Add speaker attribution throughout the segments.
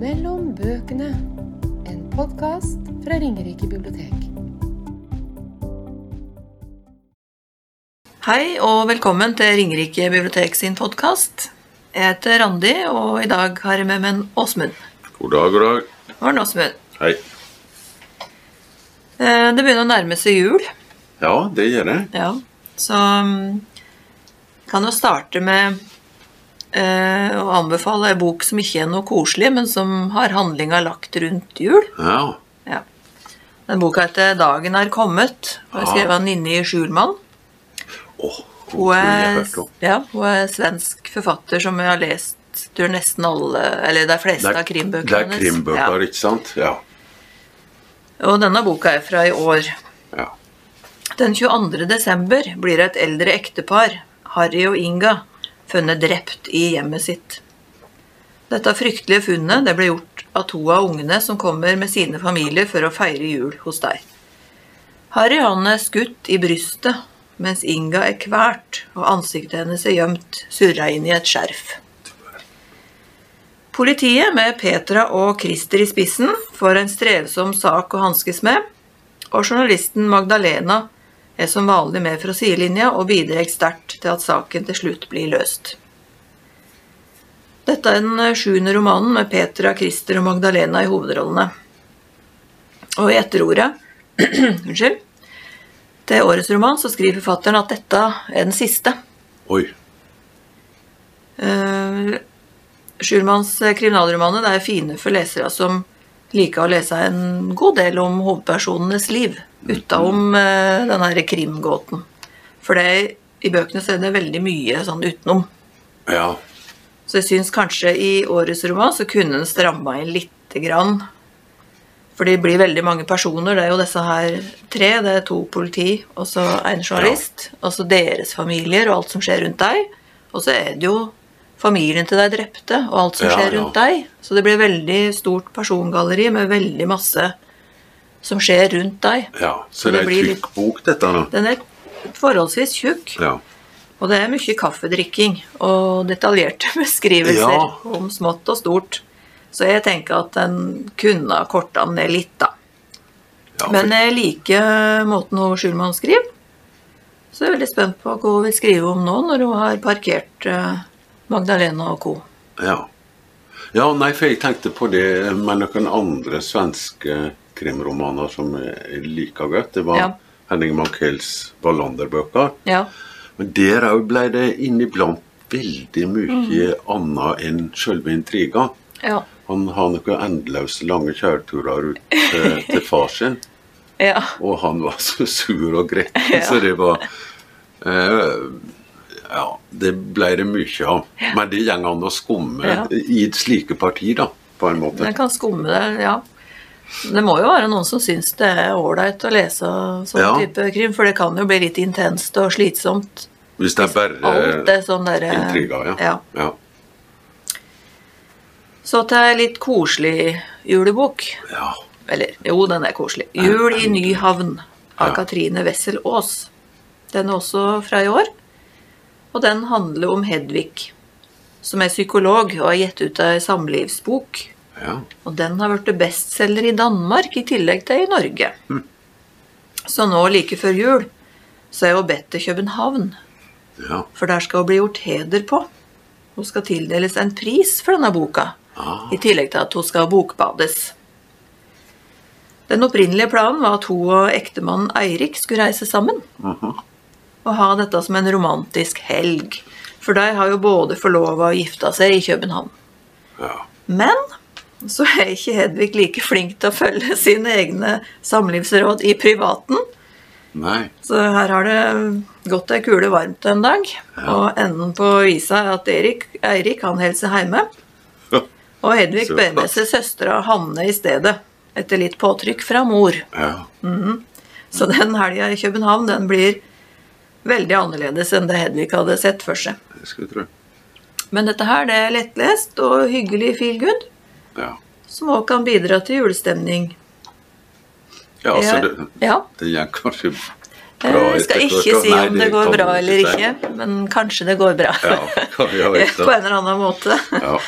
Speaker 1: Mellom bøkene. En podkast fra Ringerike bibliotek.
Speaker 2: Hei og velkommen til Ringerike bibliotek sin podkast. Jeg heter Randi, og i dag har jeg med meg en Åsmund.
Speaker 3: God dag, god dag.
Speaker 2: Morn, Åsmund.
Speaker 3: Hei.
Speaker 2: Eh, Det begynner å nærme seg jul,
Speaker 3: Ja, det gjør det.
Speaker 2: ja. så mm, kan jo starte med eh, å anbefale en bok som ikke er noe koselig, men som har handlinga lagt rundt jul.
Speaker 3: Ja.
Speaker 2: Ja. Den boka heter 'Dagen er kommet' og er
Speaker 3: Ah.
Speaker 2: skrevet av Ninni Schulman.
Speaker 3: Åh,
Speaker 2: Hun er,
Speaker 3: hørt om.
Speaker 2: ja, hun er svensk forfatter som jeg har lest tror jeg nesten alle, eller de fleste av krimbøkene
Speaker 3: Det er krimbøker, ikke sant? Ja.
Speaker 2: Ja. Og denne boka er fra i år.
Speaker 3: ja.
Speaker 2: Den 22. desember blir et eldre ektepar, Harry og Inga, funnet drept i hjemmet sitt. Dette fryktelige funnet det ble gjort av to av ungene som kommer med sine familier for å feire jul hos deg. Harry han er skutt i brystet, mens Inga er kvært og ansiktet hennes er gjemt, surra inn i et skjerf. Politiet, med Petra og Christer i spissen, får en strevsom sak å hanskes med, og journalisten Magdalena er som vanlig med fra sidelinja og bidrar sterkt til at saken til slutt blir løst. Dette er den sjuende romanen med Petra, Christer og Magdalena i hovedrollene. Og i etterordet unnskyld, til årets roman så skriver forfatteren at dette er den siste.
Speaker 3: Oi.
Speaker 2: Uh, Schulmanns kriminalromaner det er fine for lesere som liker å lese en god del om hovedpersonenes liv utenom eh, den her krimgåten. For det, i bøkene så er det veldig mye sånn utenom.
Speaker 3: Ja.
Speaker 2: Så jeg syns kanskje i årets roman så kunne den stramma inn lite grann. For det blir veldig mange personer. Det er jo disse her tre. Det er to politi og så en journalist. Og så deres familier og alt som skjer rundt deg. Og så er det jo familien til de drepte og alt som
Speaker 3: Ja,
Speaker 2: skjer
Speaker 3: ja.
Speaker 2: rundt deg. Så det blir veldig stort persongalleri med veldig masse som skjer rundt deg.
Speaker 3: ja. Så
Speaker 2: Det
Speaker 3: det er
Speaker 2: blir
Speaker 3: ei tykk bok, dette nå.
Speaker 2: Den er forholdsvis tjukk.
Speaker 3: Ja.
Speaker 2: Og det er mye kaffedrikking og detaljerte beskrivelser
Speaker 3: Ja.
Speaker 2: om smått og stort. Så jeg tenker at den kunne ha korta den ned litt, da.
Speaker 3: ja for-
Speaker 2: Men jeg liker måten hun Schulman skriver. Så jeg er veldig spent på hva hun vil skrive om nå, når hun har parkert eh, Magdalena og co.
Speaker 3: ja. ja, nei, for jeg tenkte på det med noen andre svenske krimromaner som jeg liker godt. Det var
Speaker 2: Ja.
Speaker 3: Henning Mankells Wallander-bøker.
Speaker 2: Ja.
Speaker 3: Men der òg ble det inniblant veldig mye
Speaker 2: Mm.
Speaker 3: annet enn sjølve intriga.
Speaker 2: Ja.
Speaker 3: Han har noen endeløse lange kjøreturer ut til, til far sin.
Speaker 2: ja.
Speaker 3: Og han var så sur og gretten, så det var eh, Ja, det ble det mye av. Men det går an å skumme
Speaker 2: Ja.
Speaker 3: i slike partier, da, på en måte.
Speaker 2: Den kan skumme det, ja. Det må jo være noen som syns det er ålreit å lese sånn
Speaker 3: Ja.
Speaker 2: type krim, for det kan jo bli litt intenst og slitsomt.
Speaker 3: Hvis det er
Speaker 2: Alt
Speaker 3: bare
Speaker 2: det sånn derre
Speaker 3: Eh, intriga, ja.
Speaker 2: ja.
Speaker 3: ja.
Speaker 2: Så til ei litt koselig julebok.
Speaker 3: Ja.
Speaker 2: Eller jo, den er koselig. 'Jul i Nyhavn' av
Speaker 3: Ja.
Speaker 2: Katrine Wessel Aas. Den er også fra i år. Og den handler om Hedvig, som er psykolog og har gitt ut ei samlivsbok.
Speaker 3: ja.
Speaker 2: Og den har blitt bestselger i Danmark i tillegg til i Norge.
Speaker 3: Hm.
Speaker 2: Så nå like før jul så er hun bedt til København,
Speaker 3: Ja.
Speaker 2: for der skal hun bli gjort heder på. Hun skal tildeles en pris for denne boka,
Speaker 3: Ah.
Speaker 2: i tillegg til at hun skal bokbades. Den opprinnelige planen var at hun og ektemannen Eirik skulle reise sammen.
Speaker 3: Mhm.
Speaker 2: Og ha dette som en romantisk helg, for de har jo både forlova og gifta seg i København.
Speaker 3: ja.
Speaker 2: Men så er ikke Hedvig like flink til å følge sine egne samlivsråd i privaten.
Speaker 3: Nei.
Speaker 2: Så her har det gått ei kule varmt en dag, og enden på visa er at Erik, Eirik han holder seg hjemme. Og Hedvig
Speaker 3: Søt,
Speaker 2: ber med
Speaker 3: ass.
Speaker 2: seg søstera Hanne i stedet, etter litt påtrykk fra mor.
Speaker 3: Ja.
Speaker 2: Så den helga i København den blir veldig annerledes enn det Hedvig hadde sett for seg.
Speaker 3: Det skulle jeg tro.
Speaker 2: Men dette her det er lettlest og hyggelig feel good,
Speaker 3: Ja.
Speaker 2: som òg kan bidra til julestemning.
Speaker 3: Ja, altså, det,
Speaker 2: ja.
Speaker 3: det går kanskje bra
Speaker 2: Jeg skal
Speaker 3: etter hvert,
Speaker 2: ikke
Speaker 3: og-
Speaker 2: si
Speaker 3: Nei,
Speaker 2: om det går
Speaker 3: kan
Speaker 2: bra
Speaker 3: vi
Speaker 2: eller
Speaker 3: si.
Speaker 2: ikke, men kanskje det går bra.
Speaker 3: Ja, kan vi ha
Speaker 2: På
Speaker 3: vite.
Speaker 2: en eller annen måte.
Speaker 3: Ja.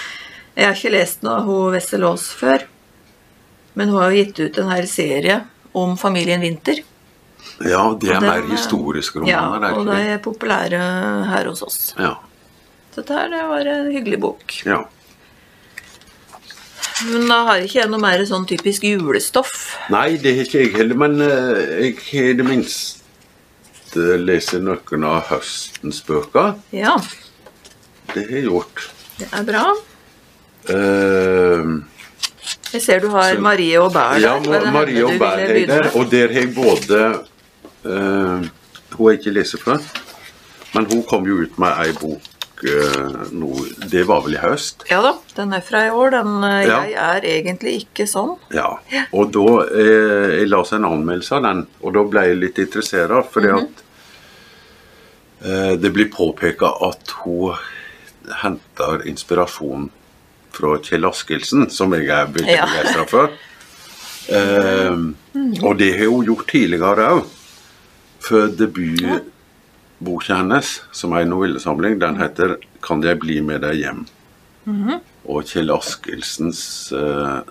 Speaker 2: Jeg har ikke lest noe av hun Wessel Aas før, men hun har jo gitt ut en hel serie om familien Winther.
Speaker 3: Ja, de er
Speaker 2: Den,
Speaker 3: mer
Speaker 2: eh,
Speaker 3: historiske
Speaker 2: Ja,
Speaker 3: romaner.
Speaker 2: og de
Speaker 3: det er ikke det?
Speaker 2: er populære her hos oss.
Speaker 3: Ja,
Speaker 2: Så dette her, det var en hyggelig bok.
Speaker 3: ja.
Speaker 2: Men da har ikke jeg noe mer sånn typisk julestoff.
Speaker 3: Nei, det har ikke jeg heller, men eh, jeg har i det minste lest noen av høstens bøker.
Speaker 2: Ja,
Speaker 3: Det har jeg gjort.
Speaker 2: det er bra.
Speaker 3: Eh,
Speaker 2: Jeg ser du har
Speaker 3: Så-
Speaker 2: Marie og Bær
Speaker 3: Ja,
Speaker 2: Var det
Speaker 3: Ma- Marie
Speaker 2: henne du ville
Speaker 3: og Berg
Speaker 2: begynne
Speaker 3: der.
Speaker 2: med?
Speaker 3: Og der har jeg både eh, Hun er ikke leser fra, men hun kom jo ut med ei bok eh, nå Det var vel i høst?
Speaker 2: Ja da, den er fra i år. Den eh,
Speaker 3: Ja.
Speaker 2: Jeg er egentlig ikke sånn.
Speaker 3: Ja. Og da eh, Jeg leste en anmeldelse av den, og da ble jeg litt interessert, fordi at eh, det blir påpeka at hun henter inspirasjon fra Kjell Askildsen, som jeg er veldig
Speaker 2: Ja.
Speaker 3: begeistra for. Eh, og det har hun gjort tidligere òg. For debutboka hennes, som er en novellesamling, den heter 'Kan jeg bli med deg hjem'. Og Kjell Askildsens eh,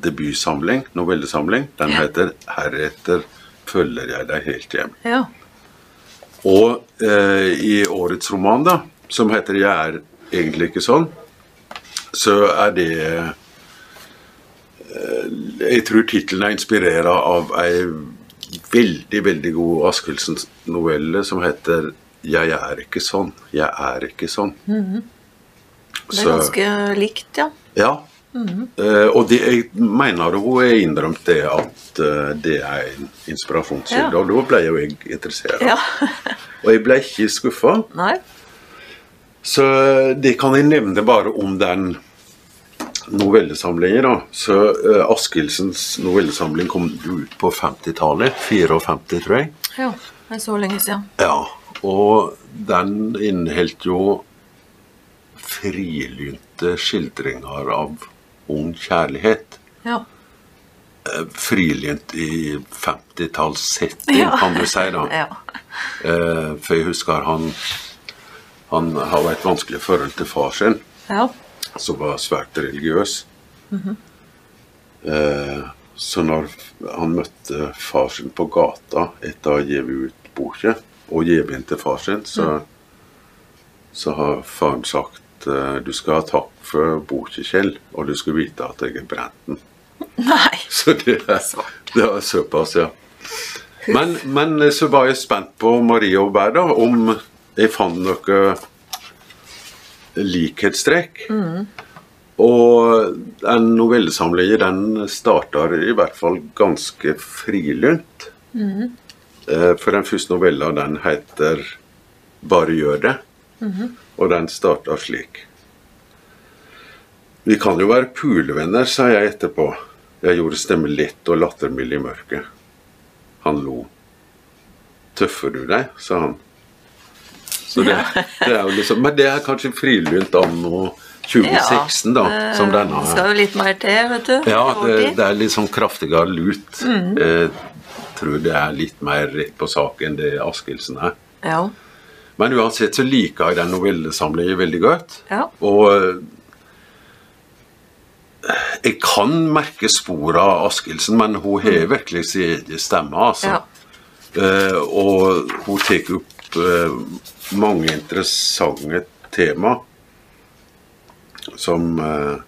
Speaker 3: debutsamling, novellesamling, den heter 'Heretter følger jeg deg helt hjem'.
Speaker 2: Ja.
Speaker 3: Og eh, i årets roman, da, som heter 'Jeg er egentlig ikke sånn', så er det eh, Jeg tror tittelen er inspirert av ei veldig, veldig god Askildsens-novelle som heter 'Jeg er ikke sånn'. Jeg er ikke sånn.
Speaker 2: Mhm. Det er ganske likt, ja.
Speaker 3: Ja.
Speaker 2: Mm-hmm.
Speaker 3: Eh, og det, jeg mener hun har innrømt det at eh, det er en inspirasjonskilde.
Speaker 2: Ja.
Speaker 3: Og da ble jo jeg interessert.
Speaker 2: ja.
Speaker 3: Og jeg ble ikke skuffa.
Speaker 2: Nei.
Speaker 3: Så det kan jeg nevne bare om den novellesamlingen. da. Så eh, Askildsens novellesamling kom jo ut på 50-tallet. 54, tror jeg.
Speaker 2: Ja, det er så lenge siden.
Speaker 3: Ja, og den inneholdt jo frilynte skildringer av ung kjærlighet.
Speaker 2: Ja.
Speaker 3: eh, frilynt i 50-tallssetting,
Speaker 2: Ja.
Speaker 3: kan du si. da.
Speaker 2: ja.
Speaker 3: Eh, for jeg husker han, han har et vanskelig forhold til far sin,
Speaker 2: ja.
Speaker 3: som var svært religiøs.
Speaker 2: Mhm.
Speaker 3: eh, så når han møtte far sin på gata etter å ha gitt ut boka, og gitt inn til far sin, så,
Speaker 2: Mm.
Speaker 3: så har faren sagt eh, du skal ha takk for boka, Kjell, og du skal vite at jeg har brent den.
Speaker 2: Nei.
Speaker 3: Så det er, det er såpass, ja. Men, men eh, så var jeg spent på Marie og Bær, da, om jeg fant noe likhetstrekk. Og en novellesamling den starter i hvert fall ganske frilynt. Eh, For den første novella den heter 'Bare gjør det',
Speaker 2: Mhm.
Speaker 3: og den starter slik. Vi kan jo være pulevenner, sa jeg etterpå. Jeg gjorde stemmen lett og lattermild i mørket. Han lo. Tøffer du deg, sa han. Så det, det er jo liksom, men det er kanskje frilynt anno 2016, da,
Speaker 2: Eh,
Speaker 3: som denne.
Speaker 2: Skal jo litt mer til, vet du.
Speaker 3: Ja,
Speaker 2: Over
Speaker 3: det,
Speaker 2: tid.
Speaker 3: det er litt sånn kraftigere lut.
Speaker 2: Mm.
Speaker 3: Jeg tror det er litt mer rett på sak enn det Askildsen er.
Speaker 2: ja.
Speaker 3: Men uansett så liker jeg den novellesamlingen veldig godt.
Speaker 2: Ja.
Speaker 3: Og eh, jeg kan merke spor av Askildsen, men hun har virkelig sin egen stemme, altså.
Speaker 2: Mm. Ja.
Speaker 3: Eh, og hun tar opp eh, mange interessante tema som eh,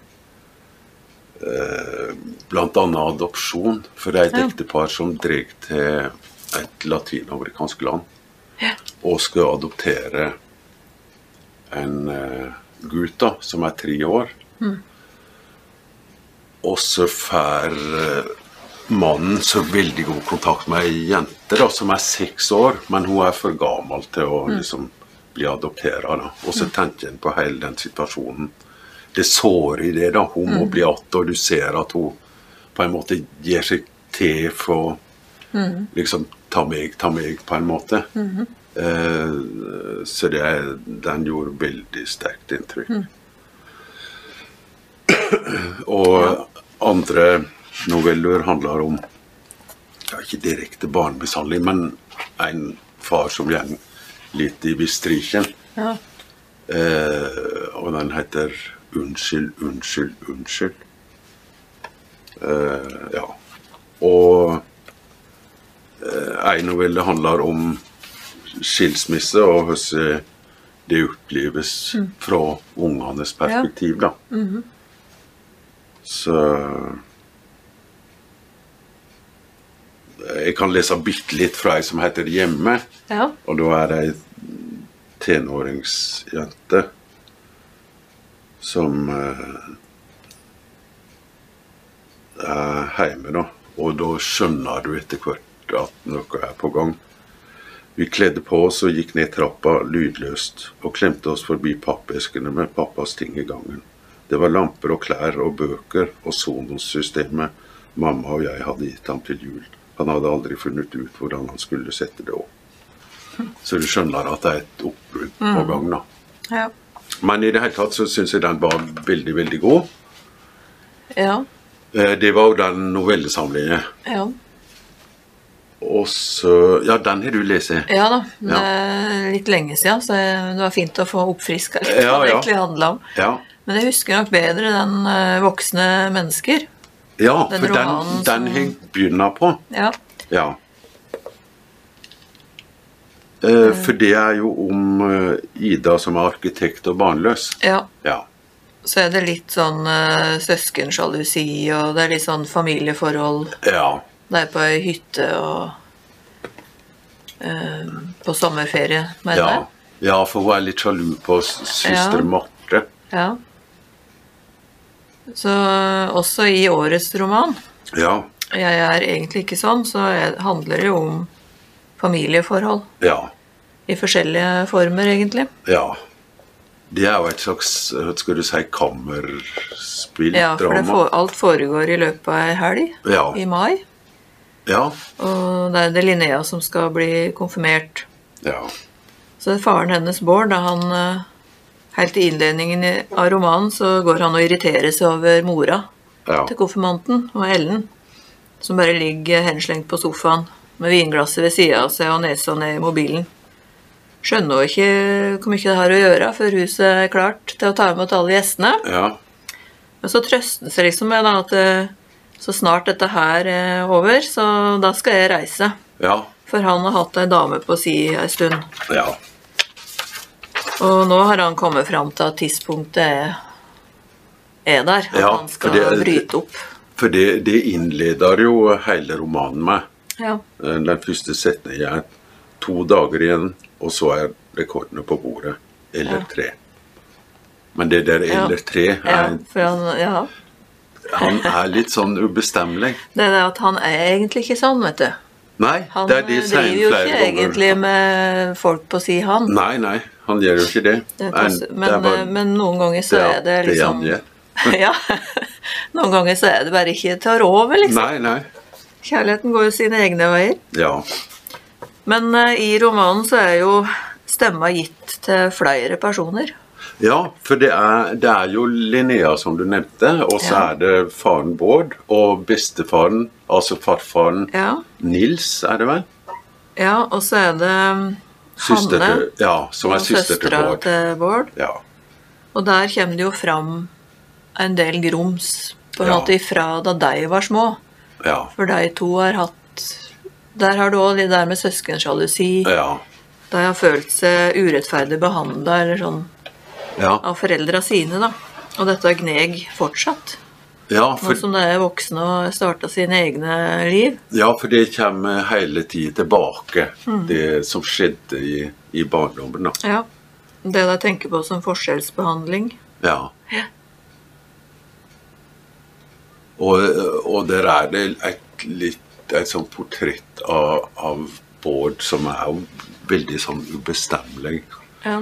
Speaker 3: eh, blant annet adopsjon, for det er et
Speaker 2: Ja.
Speaker 3: ektepar som drar til et latinamerikansk land og skal adoptere en eh, gutt da, som er tre år. Og så får eh, mannen så veldig god kontakt med ei jente da, som er seks år, men hun er for gammel til å liksom, bli adoptert. Og så tenker en på hele den situasjonen. Det sårer i det. da, Hun må bli att, og du ser at hun på en måte gir seg til for å liksom ta meg, ta meg, på en måte. Eh, så det, er- den gjorde veldig sterkt inntrykk. Og andre noveller handler om ja, ikke direkte barnemishandling, men en far som går litt i vistriken.
Speaker 2: Ja.
Speaker 3: Eh, og den heter unnskyld, unnskyld, unnskyld. Eh, ja. Og eh, ei novelle handler om skilsmisse og hvordan det oppleves fra ungenes perspektiv, da. Så Jeg kan lese bitte litt fra ei som heter 'Hjemme'.
Speaker 1: Ja.
Speaker 3: Og da er det ei tenåringsjente som eh, er hjemme, da. Og da skjønner du etter hvert at noe er på gang. Vi kledde på oss og gikk ned trappa lydløst, og klemte oss forbi pappeskene med pappas ting i gangen. Det var lamper og klær og bøker og Sonos-systemet mamma og jeg hadde gitt ham til jul. Han hadde aldri funnet ut hvordan han skulle sette det opp. Så du skjønner at det er et oppbrudd
Speaker 2: Mm.
Speaker 3: på gang, da.
Speaker 2: Ja.
Speaker 3: Men i det hele tatt så syns jeg den var veldig, veldig god.
Speaker 2: Ja.
Speaker 3: Eh, Det var jo den novellesamlingen.
Speaker 2: Ja.
Speaker 3: Og så Ja, den har du lest?
Speaker 2: Ja da, det
Speaker 3: Ja.
Speaker 2: er litt lenge siden, så det var fint å få oppfriska litt
Speaker 3: Ja,
Speaker 2: hva det
Speaker 3: ja.
Speaker 2: egentlig handla om.
Speaker 3: Ja.
Speaker 2: Men jeg husker nok bedre den eh, voksne mennesker.
Speaker 3: ja
Speaker 2: Den
Speaker 3: for den,
Speaker 2: romanen
Speaker 3: den
Speaker 2: som-
Speaker 3: har jeg begynner på.
Speaker 2: Ja.
Speaker 3: Ja. Eh,
Speaker 2: Mm.
Speaker 3: For det er jo om eh, Ida som er arkitekt og barnløs.
Speaker 2: ja.
Speaker 3: Ja.
Speaker 2: Så er det litt sånn eh, søskensjalusi, og det er litt sånn familieforhold
Speaker 3: ja.
Speaker 2: der på ei hytte og eh, på sommerferie, mener
Speaker 3: Ja.
Speaker 2: jeg.
Speaker 3: ja, for hun er litt sjalu på s-
Speaker 2: Ja.
Speaker 3: søster Marte.
Speaker 2: Ja. Så eh, også i årets roman
Speaker 3: Ja.
Speaker 2: Jeg er egentlig ikke sånn, så er- handler det jo om familieforhold.
Speaker 3: Ja.
Speaker 2: I forskjellige former, egentlig.
Speaker 3: Ja. Det er jo et slags hva skal du si, kammerspill,
Speaker 2: Ja, for det
Speaker 3: drama.
Speaker 2: for, alt foregår i løpet av ei helg
Speaker 3: Ja.
Speaker 2: i mai.
Speaker 3: Ja.
Speaker 2: Og det er det Linnea som skal bli konfirmert.
Speaker 3: ja.
Speaker 2: Så det er faren hennes, Bård, da han eh, Helt i innledningen i- av romanen så går han og irriterer seg over mora
Speaker 3: Ja.
Speaker 2: til konfirmanten, og Ellen, som bare ligger henslengt på sofaen med vinglasset ved sida av seg og nesa ned i mobilen. Skjønner hun ikke hvor mye det har å gjøre før huset er klart til å ta imot alle gjestene.
Speaker 3: Ja.
Speaker 2: Men så trøster han seg liksom med da, at eh, så snart dette her er over, så da skal jeg reise.
Speaker 3: Ja.
Speaker 2: For han har hatt ei dame på si ei stund.
Speaker 3: Ja.
Speaker 2: Og nå har han kommet fram til at tidspunktet er, er der. At
Speaker 3: Ja, eh,
Speaker 2: han skal
Speaker 3: for det er-
Speaker 2: bryte opp.
Speaker 3: For det, det innleder jo hele romanen med.
Speaker 2: Ja.
Speaker 3: Eh, Den første setningen er to dager igjen, og så er rekordene på bordet. Eller tre. Men det der
Speaker 2: Ja.
Speaker 3: 'eller tre'
Speaker 2: Ja,
Speaker 3: er,
Speaker 2: for han, ja.
Speaker 3: han er litt sånn ubestemmelig.
Speaker 2: Det er det at han er egentlig ikke sånn, vet du.
Speaker 3: Nei,
Speaker 2: Han
Speaker 3: det er
Speaker 2: eh,
Speaker 3: de sier
Speaker 2: driver jo
Speaker 3: flere
Speaker 2: ikke
Speaker 3: ganger.
Speaker 2: egentlig med folk på si, han.
Speaker 3: Nei, nei, han gjør jo ikke det.
Speaker 2: Det er
Speaker 3: Nei,
Speaker 2: pass- men,
Speaker 3: det er bare-
Speaker 2: eh, men noen ganger så
Speaker 3: det
Speaker 2: er
Speaker 3: er
Speaker 2: det
Speaker 3: det
Speaker 2: liksom
Speaker 3: han gjør.
Speaker 2: ja. Noen ganger så er det bare ikke til å rå over, liksom.
Speaker 3: Nei, nei.
Speaker 2: Kjærligheten går jo sine egne veier.
Speaker 3: Ja.
Speaker 2: Men eh, i romanen så er jo stemma gitt til flere personer.
Speaker 3: Ja, for det er, det er jo Linnea som du nevnte, og så
Speaker 2: Ja.
Speaker 3: er det faren Bård og bestefaren, altså farfaren
Speaker 2: Ja,
Speaker 3: Nils, er det vel?
Speaker 2: ja og så er det mm,
Speaker 3: Søster
Speaker 2: Hanne
Speaker 3: til, ja, som er
Speaker 2: og
Speaker 3: søster til
Speaker 2: søstera
Speaker 3: Bård.
Speaker 2: til Bård.
Speaker 3: Ja,
Speaker 2: Og der kommer det jo fram en del grums, på en
Speaker 3: Ja.
Speaker 2: måte ifra da de var små.
Speaker 3: ja,
Speaker 2: For de to har hatt Der har du òg det der med søskensjalusi.
Speaker 3: ja.
Speaker 2: De har følt seg urettferdig behandla eller sånn
Speaker 3: Ja,
Speaker 2: av foreldra sine, da. Og dette gneg fortsatt.
Speaker 3: ja,
Speaker 2: Nå
Speaker 3: for,
Speaker 2: som de er voksne og har starta sine egne liv.
Speaker 3: ja, for det kommer hele tiden tilbake,
Speaker 2: Mm.
Speaker 3: det som skjedde i, i barndommen. Da.
Speaker 2: Ja. Det de tenker på som forskjellsbehandling.
Speaker 3: Ja. Og, og der er det et litt et sånt portrett av, av Bård som er jo veldig sånn ubestemmelig.
Speaker 2: Ja.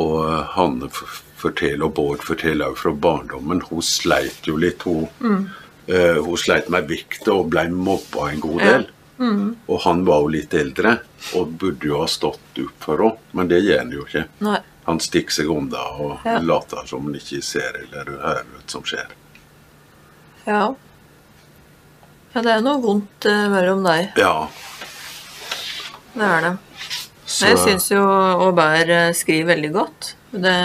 Speaker 3: Og Hanne f- forteller, og Bård forteller også fra barndommen. Hun sleit jo litt, hun. Eh, hun sleit med vekta og ble mobba en god del. Og han var jo litt eldre og burde jo ha stått opp for henne, men det gjør han jo ikke.
Speaker 2: Nei.
Speaker 3: Han stikker seg unna og
Speaker 2: Ja.
Speaker 3: later som han ikke ser eller hører hva som skjer.
Speaker 2: Ja. ja, det er noe vondt eh, mellom deg.
Speaker 3: Ja,
Speaker 2: Det er det.
Speaker 3: Så-
Speaker 2: Jeg syns jo Aubert eh, skriver veldig godt. Det,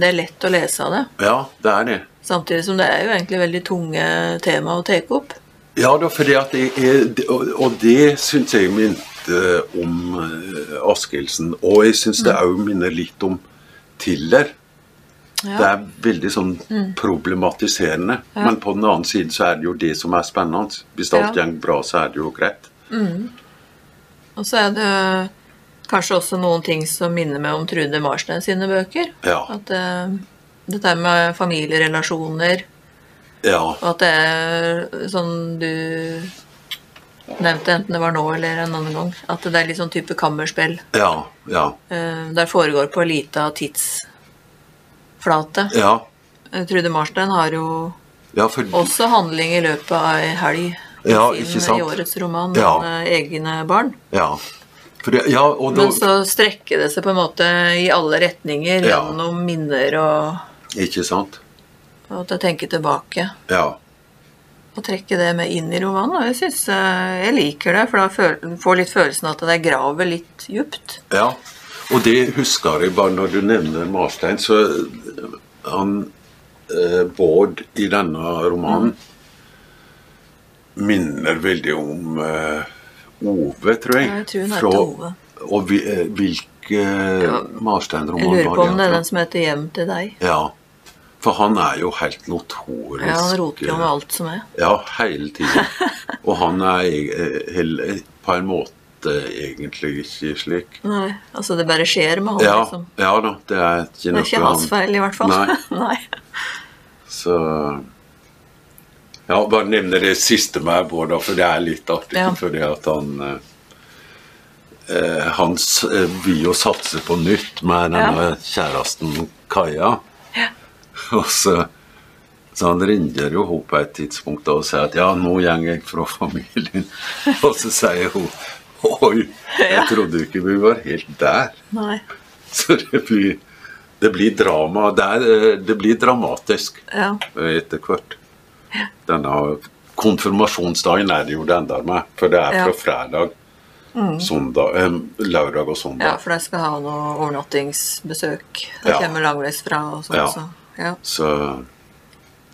Speaker 2: det er lett å lese av det.
Speaker 3: Ja, det er det.
Speaker 2: Samtidig som det er jo egentlig veldig tunge tema å ta opp.
Speaker 3: Ja da, fordi at det er, og- og det syns jeg minte om eh, Askildsen. Og jeg
Speaker 2: Mm.
Speaker 3: syns det òg minner litt om Tiller. Det
Speaker 2: Ja. Mm.
Speaker 3: er veldig sånn problematiserende. Men på den annen side så er det jo det som er spennende. Hvis alt
Speaker 2: Ja.
Speaker 3: går bra, så er det jo greit.
Speaker 2: Og så er det kanskje også noen ting som minner meg om Trude Marstein sine bøker.
Speaker 3: Ja.
Speaker 2: At eh, dette med familierelasjoner,
Speaker 3: Ja,
Speaker 2: og at det er sånn du nevnte, enten det var nå eller en annen gang, at det er litt sånn type kammerspill.
Speaker 3: ja, ja.
Speaker 2: eh, Der foregår på lita tidsflate.
Speaker 3: Ja,
Speaker 2: Eh, Trude Marstein har jo
Speaker 3: ja for
Speaker 2: også handling i løpet av ei helg. i
Speaker 3: Ja,
Speaker 2: sin-
Speaker 3: ikke sant?
Speaker 2: I årets roman
Speaker 3: Ja.
Speaker 2: om eh, egne barn.
Speaker 3: Ja. For det, ja, og da
Speaker 2: Men så strekker det seg på en måte i alle retninger
Speaker 3: Ja.
Speaker 2: gjennom minner og,
Speaker 3: Ikke sant?
Speaker 2: og at jeg tenker tilbake.
Speaker 3: Ja.
Speaker 2: Å trekke det med inn i romanen, og jeg synes eh, jeg liker det, for da føl- får litt følelsen at det graver litt djupt.
Speaker 3: Ja, og det husker jeg bare når du nevner Marstein, så øh, han eh, Bård i denne romanen minner veldig om eh, Ove, tror jeg.
Speaker 2: Ja, jeg tror hun heter Ove.
Speaker 3: Og vi, eh, hvilke
Speaker 2: Jeg
Speaker 3: Marstein-roman
Speaker 2: lurer på om det er
Speaker 3: tror?
Speaker 2: den som heter 'Hjem til deg'.
Speaker 3: Ja, for han er jo helt notorisk.
Speaker 2: Ja, han roter jo med
Speaker 3: eh,
Speaker 2: alt som er.
Speaker 3: ja, hele tiden. Og han er eh, hel- på en måte egentlig ikke slik.
Speaker 2: Nei, altså det bare skjer med han,
Speaker 3: Ja,
Speaker 2: liksom.
Speaker 3: ja da, det er ikke
Speaker 2: Det er ikke
Speaker 3: noe
Speaker 2: hans feil, i hvert fall.
Speaker 3: Nei.
Speaker 2: Nei.
Speaker 3: Så Ja, bare nevne det siste med Bård, da, for det er litt artig.
Speaker 2: Ja.
Speaker 3: Fordi at han eh, eh, Han s- eh, vil jo satse på nytt med denne kjæresten Kaja.
Speaker 2: Ja.
Speaker 3: Og så, så han ringer jo henne på et tidspunkt da, og sier at ja, nå går jeg fra familien. Og så sier hun oi, jeg trodde ikke vi var helt der.
Speaker 2: Nei.
Speaker 3: Så det blir, det blir drama. Det, er, eh, det blir dramatisk
Speaker 2: Ja.
Speaker 3: eh, etter hvert. Denne konfirmasjonsdagen er det jo det ender med, for det er
Speaker 2: Ja. Mm.
Speaker 3: fra fredag, søndag, eh, lørdag og
Speaker 2: Ja,
Speaker 3: søndag.
Speaker 2: for de skal ha noe overnattingsbesøk. De
Speaker 3: Ja.
Speaker 2: kommer langveisfra og sånn.
Speaker 3: Ja.
Speaker 2: Så. Ja.
Speaker 3: Så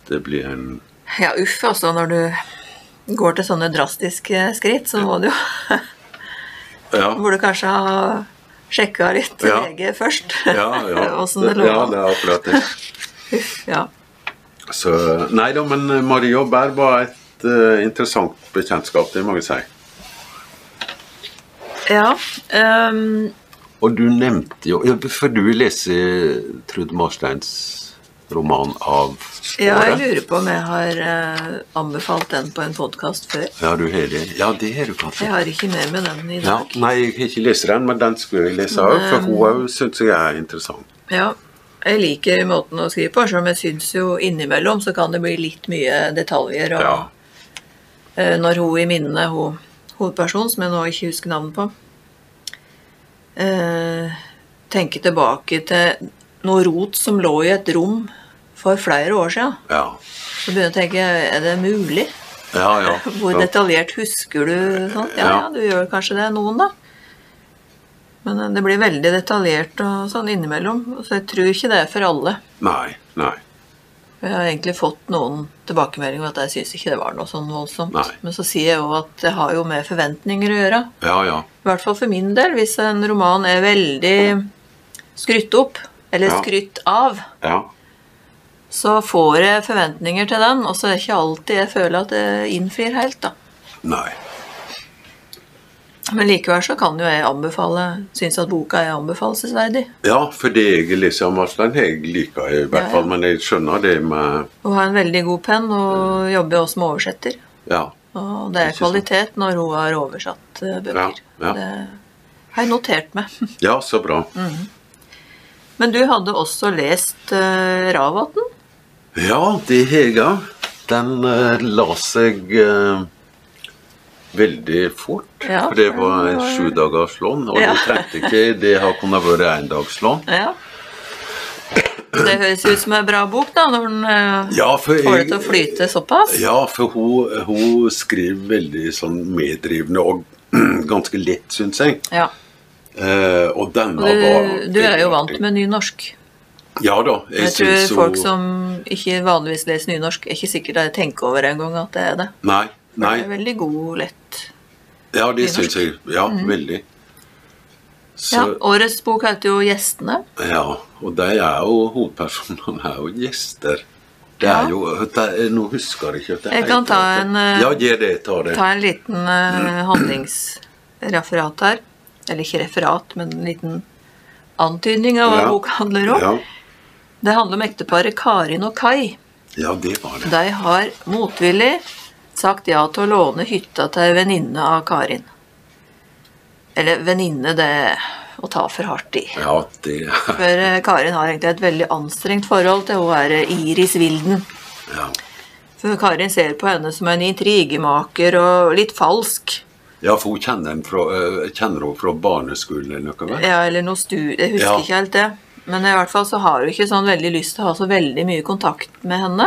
Speaker 3: det blir en
Speaker 2: ja, uff, altså. Når du går til sånne drastiske skritt, så må du jo
Speaker 3: Ja.
Speaker 2: Burde kanskje ha sjekka litt
Speaker 3: Ja.
Speaker 2: lege først.
Speaker 3: Ja, ja.
Speaker 2: Åssen det lå
Speaker 3: ja,
Speaker 2: an.
Speaker 3: det er akkurat det.
Speaker 2: Uff, ja.
Speaker 3: Så, nei da, men Marie og Bær var et eh, interessant bekjentskap, det må jeg si.
Speaker 2: Ja. ehm,
Speaker 3: Og du nevnte jo ja, For du leser Trude Marsteins roman av
Speaker 2: ja, jeg
Speaker 3: året?
Speaker 2: lurer på om jeg har eh, anbefalt den på en podkast før.
Speaker 3: Ja, du har det. Ja, det har du kanskje.
Speaker 2: Jeg har ikke med meg den i
Speaker 3: Ja,
Speaker 2: dag.
Speaker 3: nei, jeg har ikke lest den, men den skulle jeg lese òg, for hun òg syns jeg er interessant.
Speaker 2: Ja, jeg liker måten å skrive på, selv om jeg syns jo innimellom så kan det bli litt mye detaljer. Og,
Speaker 3: Ja.
Speaker 2: eh, når hun i minnene, hun hovedpersonen, som jeg nå ikke husker navnet på, eh, tenker tilbake til noe rot som lå i et rom for flere år siden,
Speaker 3: Ja.
Speaker 2: så begynner jeg å tenke er det mulig?
Speaker 3: Ja, ja.
Speaker 2: Hvor
Speaker 3: ja.
Speaker 2: detaljert husker du sånt? Ja, ja,
Speaker 3: Ja.
Speaker 2: du gjør kanskje det, noen, da. Men eh, det blir veldig detaljert og sånn innimellom, så jeg tror ikke det er for alle.
Speaker 3: Nei, nei.
Speaker 2: Jeg har egentlig fått noen tilbakemeldinger om at jeg syns ikke det var noe sånn voldsomt.
Speaker 3: Nei.
Speaker 2: Men så sier jeg jo at det har jo med forventninger å gjøre.
Speaker 3: Ja, ja.
Speaker 2: I hvert fall for min del, hvis en roman er veldig skrytt opp, eller
Speaker 3: Ja.
Speaker 2: skrytt av,
Speaker 3: Ja.
Speaker 2: så får jeg forventninger til den, og så er det ikke alltid jeg føler at det innfrir helt, da.
Speaker 3: Nei.
Speaker 2: Men likevel så kan jo jeg anbefale, synes at boka er anbefalesverdig.
Speaker 3: Ja, for det jeg leser av Marstein, jeg liker jeg i
Speaker 2: Ja, ja.
Speaker 3: hvert fall, men jeg skjønner det med
Speaker 2: Hun har en veldig god penn, og jobber også med oversetter.
Speaker 3: Ja.
Speaker 2: Og det er
Speaker 3: Ikke sant.
Speaker 2: kvalitet når hun har oversatt eh, bøker.
Speaker 3: Ja, ja.
Speaker 2: Det har jeg notert meg.
Speaker 3: Ja, så bra.
Speaker 2: Men du hadde også lest uh, Ravatn?
Speaker 3: Ja, det Hega, den eh, la seg eh, veldig fort.
Speaker 2: Ja,
Speaker 3: for det
Speaker 2: for
Speaker 3: var
Speaker 2: den
Speaker 3: en
Speaker 2: var-
Speaker 3: sjudagerslån, og
Speaker 2: Ja.
Speaker 3: det trengte ikke Det har kunnet vært endagslån.
Speaker 2: Ja. Det høres ut som en bra bok, da, når den eh,
Speaker 3: Ja, for
Speaker 2: får det til å flyte såpass.
Speaker 3: Ja, for hun, hun skriver veldig sånn meddrivende og ganske lett, syns jeg.
Speaker 2: Ja.
Speaker 3: Eh, og denne
Speaker 2: Og du,
Speaker 3: var
Speaker 2: du er jo vant med nynorsk.
Speaker 3: Ja da. Jeg,
Speaker 2: Jeg tror
Speaker 3: syns jo
Speaker 2: folk som ikke vanligvis leser nynorsk, er ikke sikkert de tenker over engang at det er det.
Speaker 3: Nei. nei.
Speaker 2: Det er veldig god, lett.
Speaker 3: Ja, det
Speaker 2: Nynorsk.
Speaker 3: syns jeg. Ja, veldig. Så,
Speaker 2: Mhm. Ja, årets bok heter jo 'Gjestene'.
Speaker 3: Ja, og de er jo hovedpersonene er jo gjester. Det
Speaker 2: Ja.
Speaker 3: er jo det er, Nå husker jeg ikke. at det
Speaker 2: Jeg kan
Speaker 3: heter
Speaker 2: ta
Speaker 3: at det-
Speaker 2: en, eh,
Speaker 3: Ja, gjør det. Ta det.
Speaker 2: ta en liten eh, handlingsreferat her. Eller ikke referat, men en liten antydning av hva
Speaker 3: Ja.
Speaker 2: boka handler om.
Speaker 3: ja.
Speaker 2: Det handler om ekteparet Karin og Kai.
Speaker 3: ja, det var det.
Speaker 2: De har motvillig sagt ja til å låne hytta til ei venninne av Karin. Eller venninne, det er å ta for hardt i.
Speaker 3: Ja, det er
Speaker 2: For eh, Karin har egentlig et veldig anstrengt forhold til hun er eh, Iris Vilden.
Speaker 3: Ja,
Speaker 2: For Karin ser på henne som en intrigemaker og litt falsk.
Speaker 3: ja for hun kjenner henne fra, eh, kjenner hun fra barneskolen eller noe? vel?
Speaker 2: Ja, eller noe studie, jeg husker
Speaker 3: Ja.
Speaker 2: ikke helt det. Men i hvert fall så har hun ikke sånn veldig lyst til å ha så veldig mye kontakt med henne.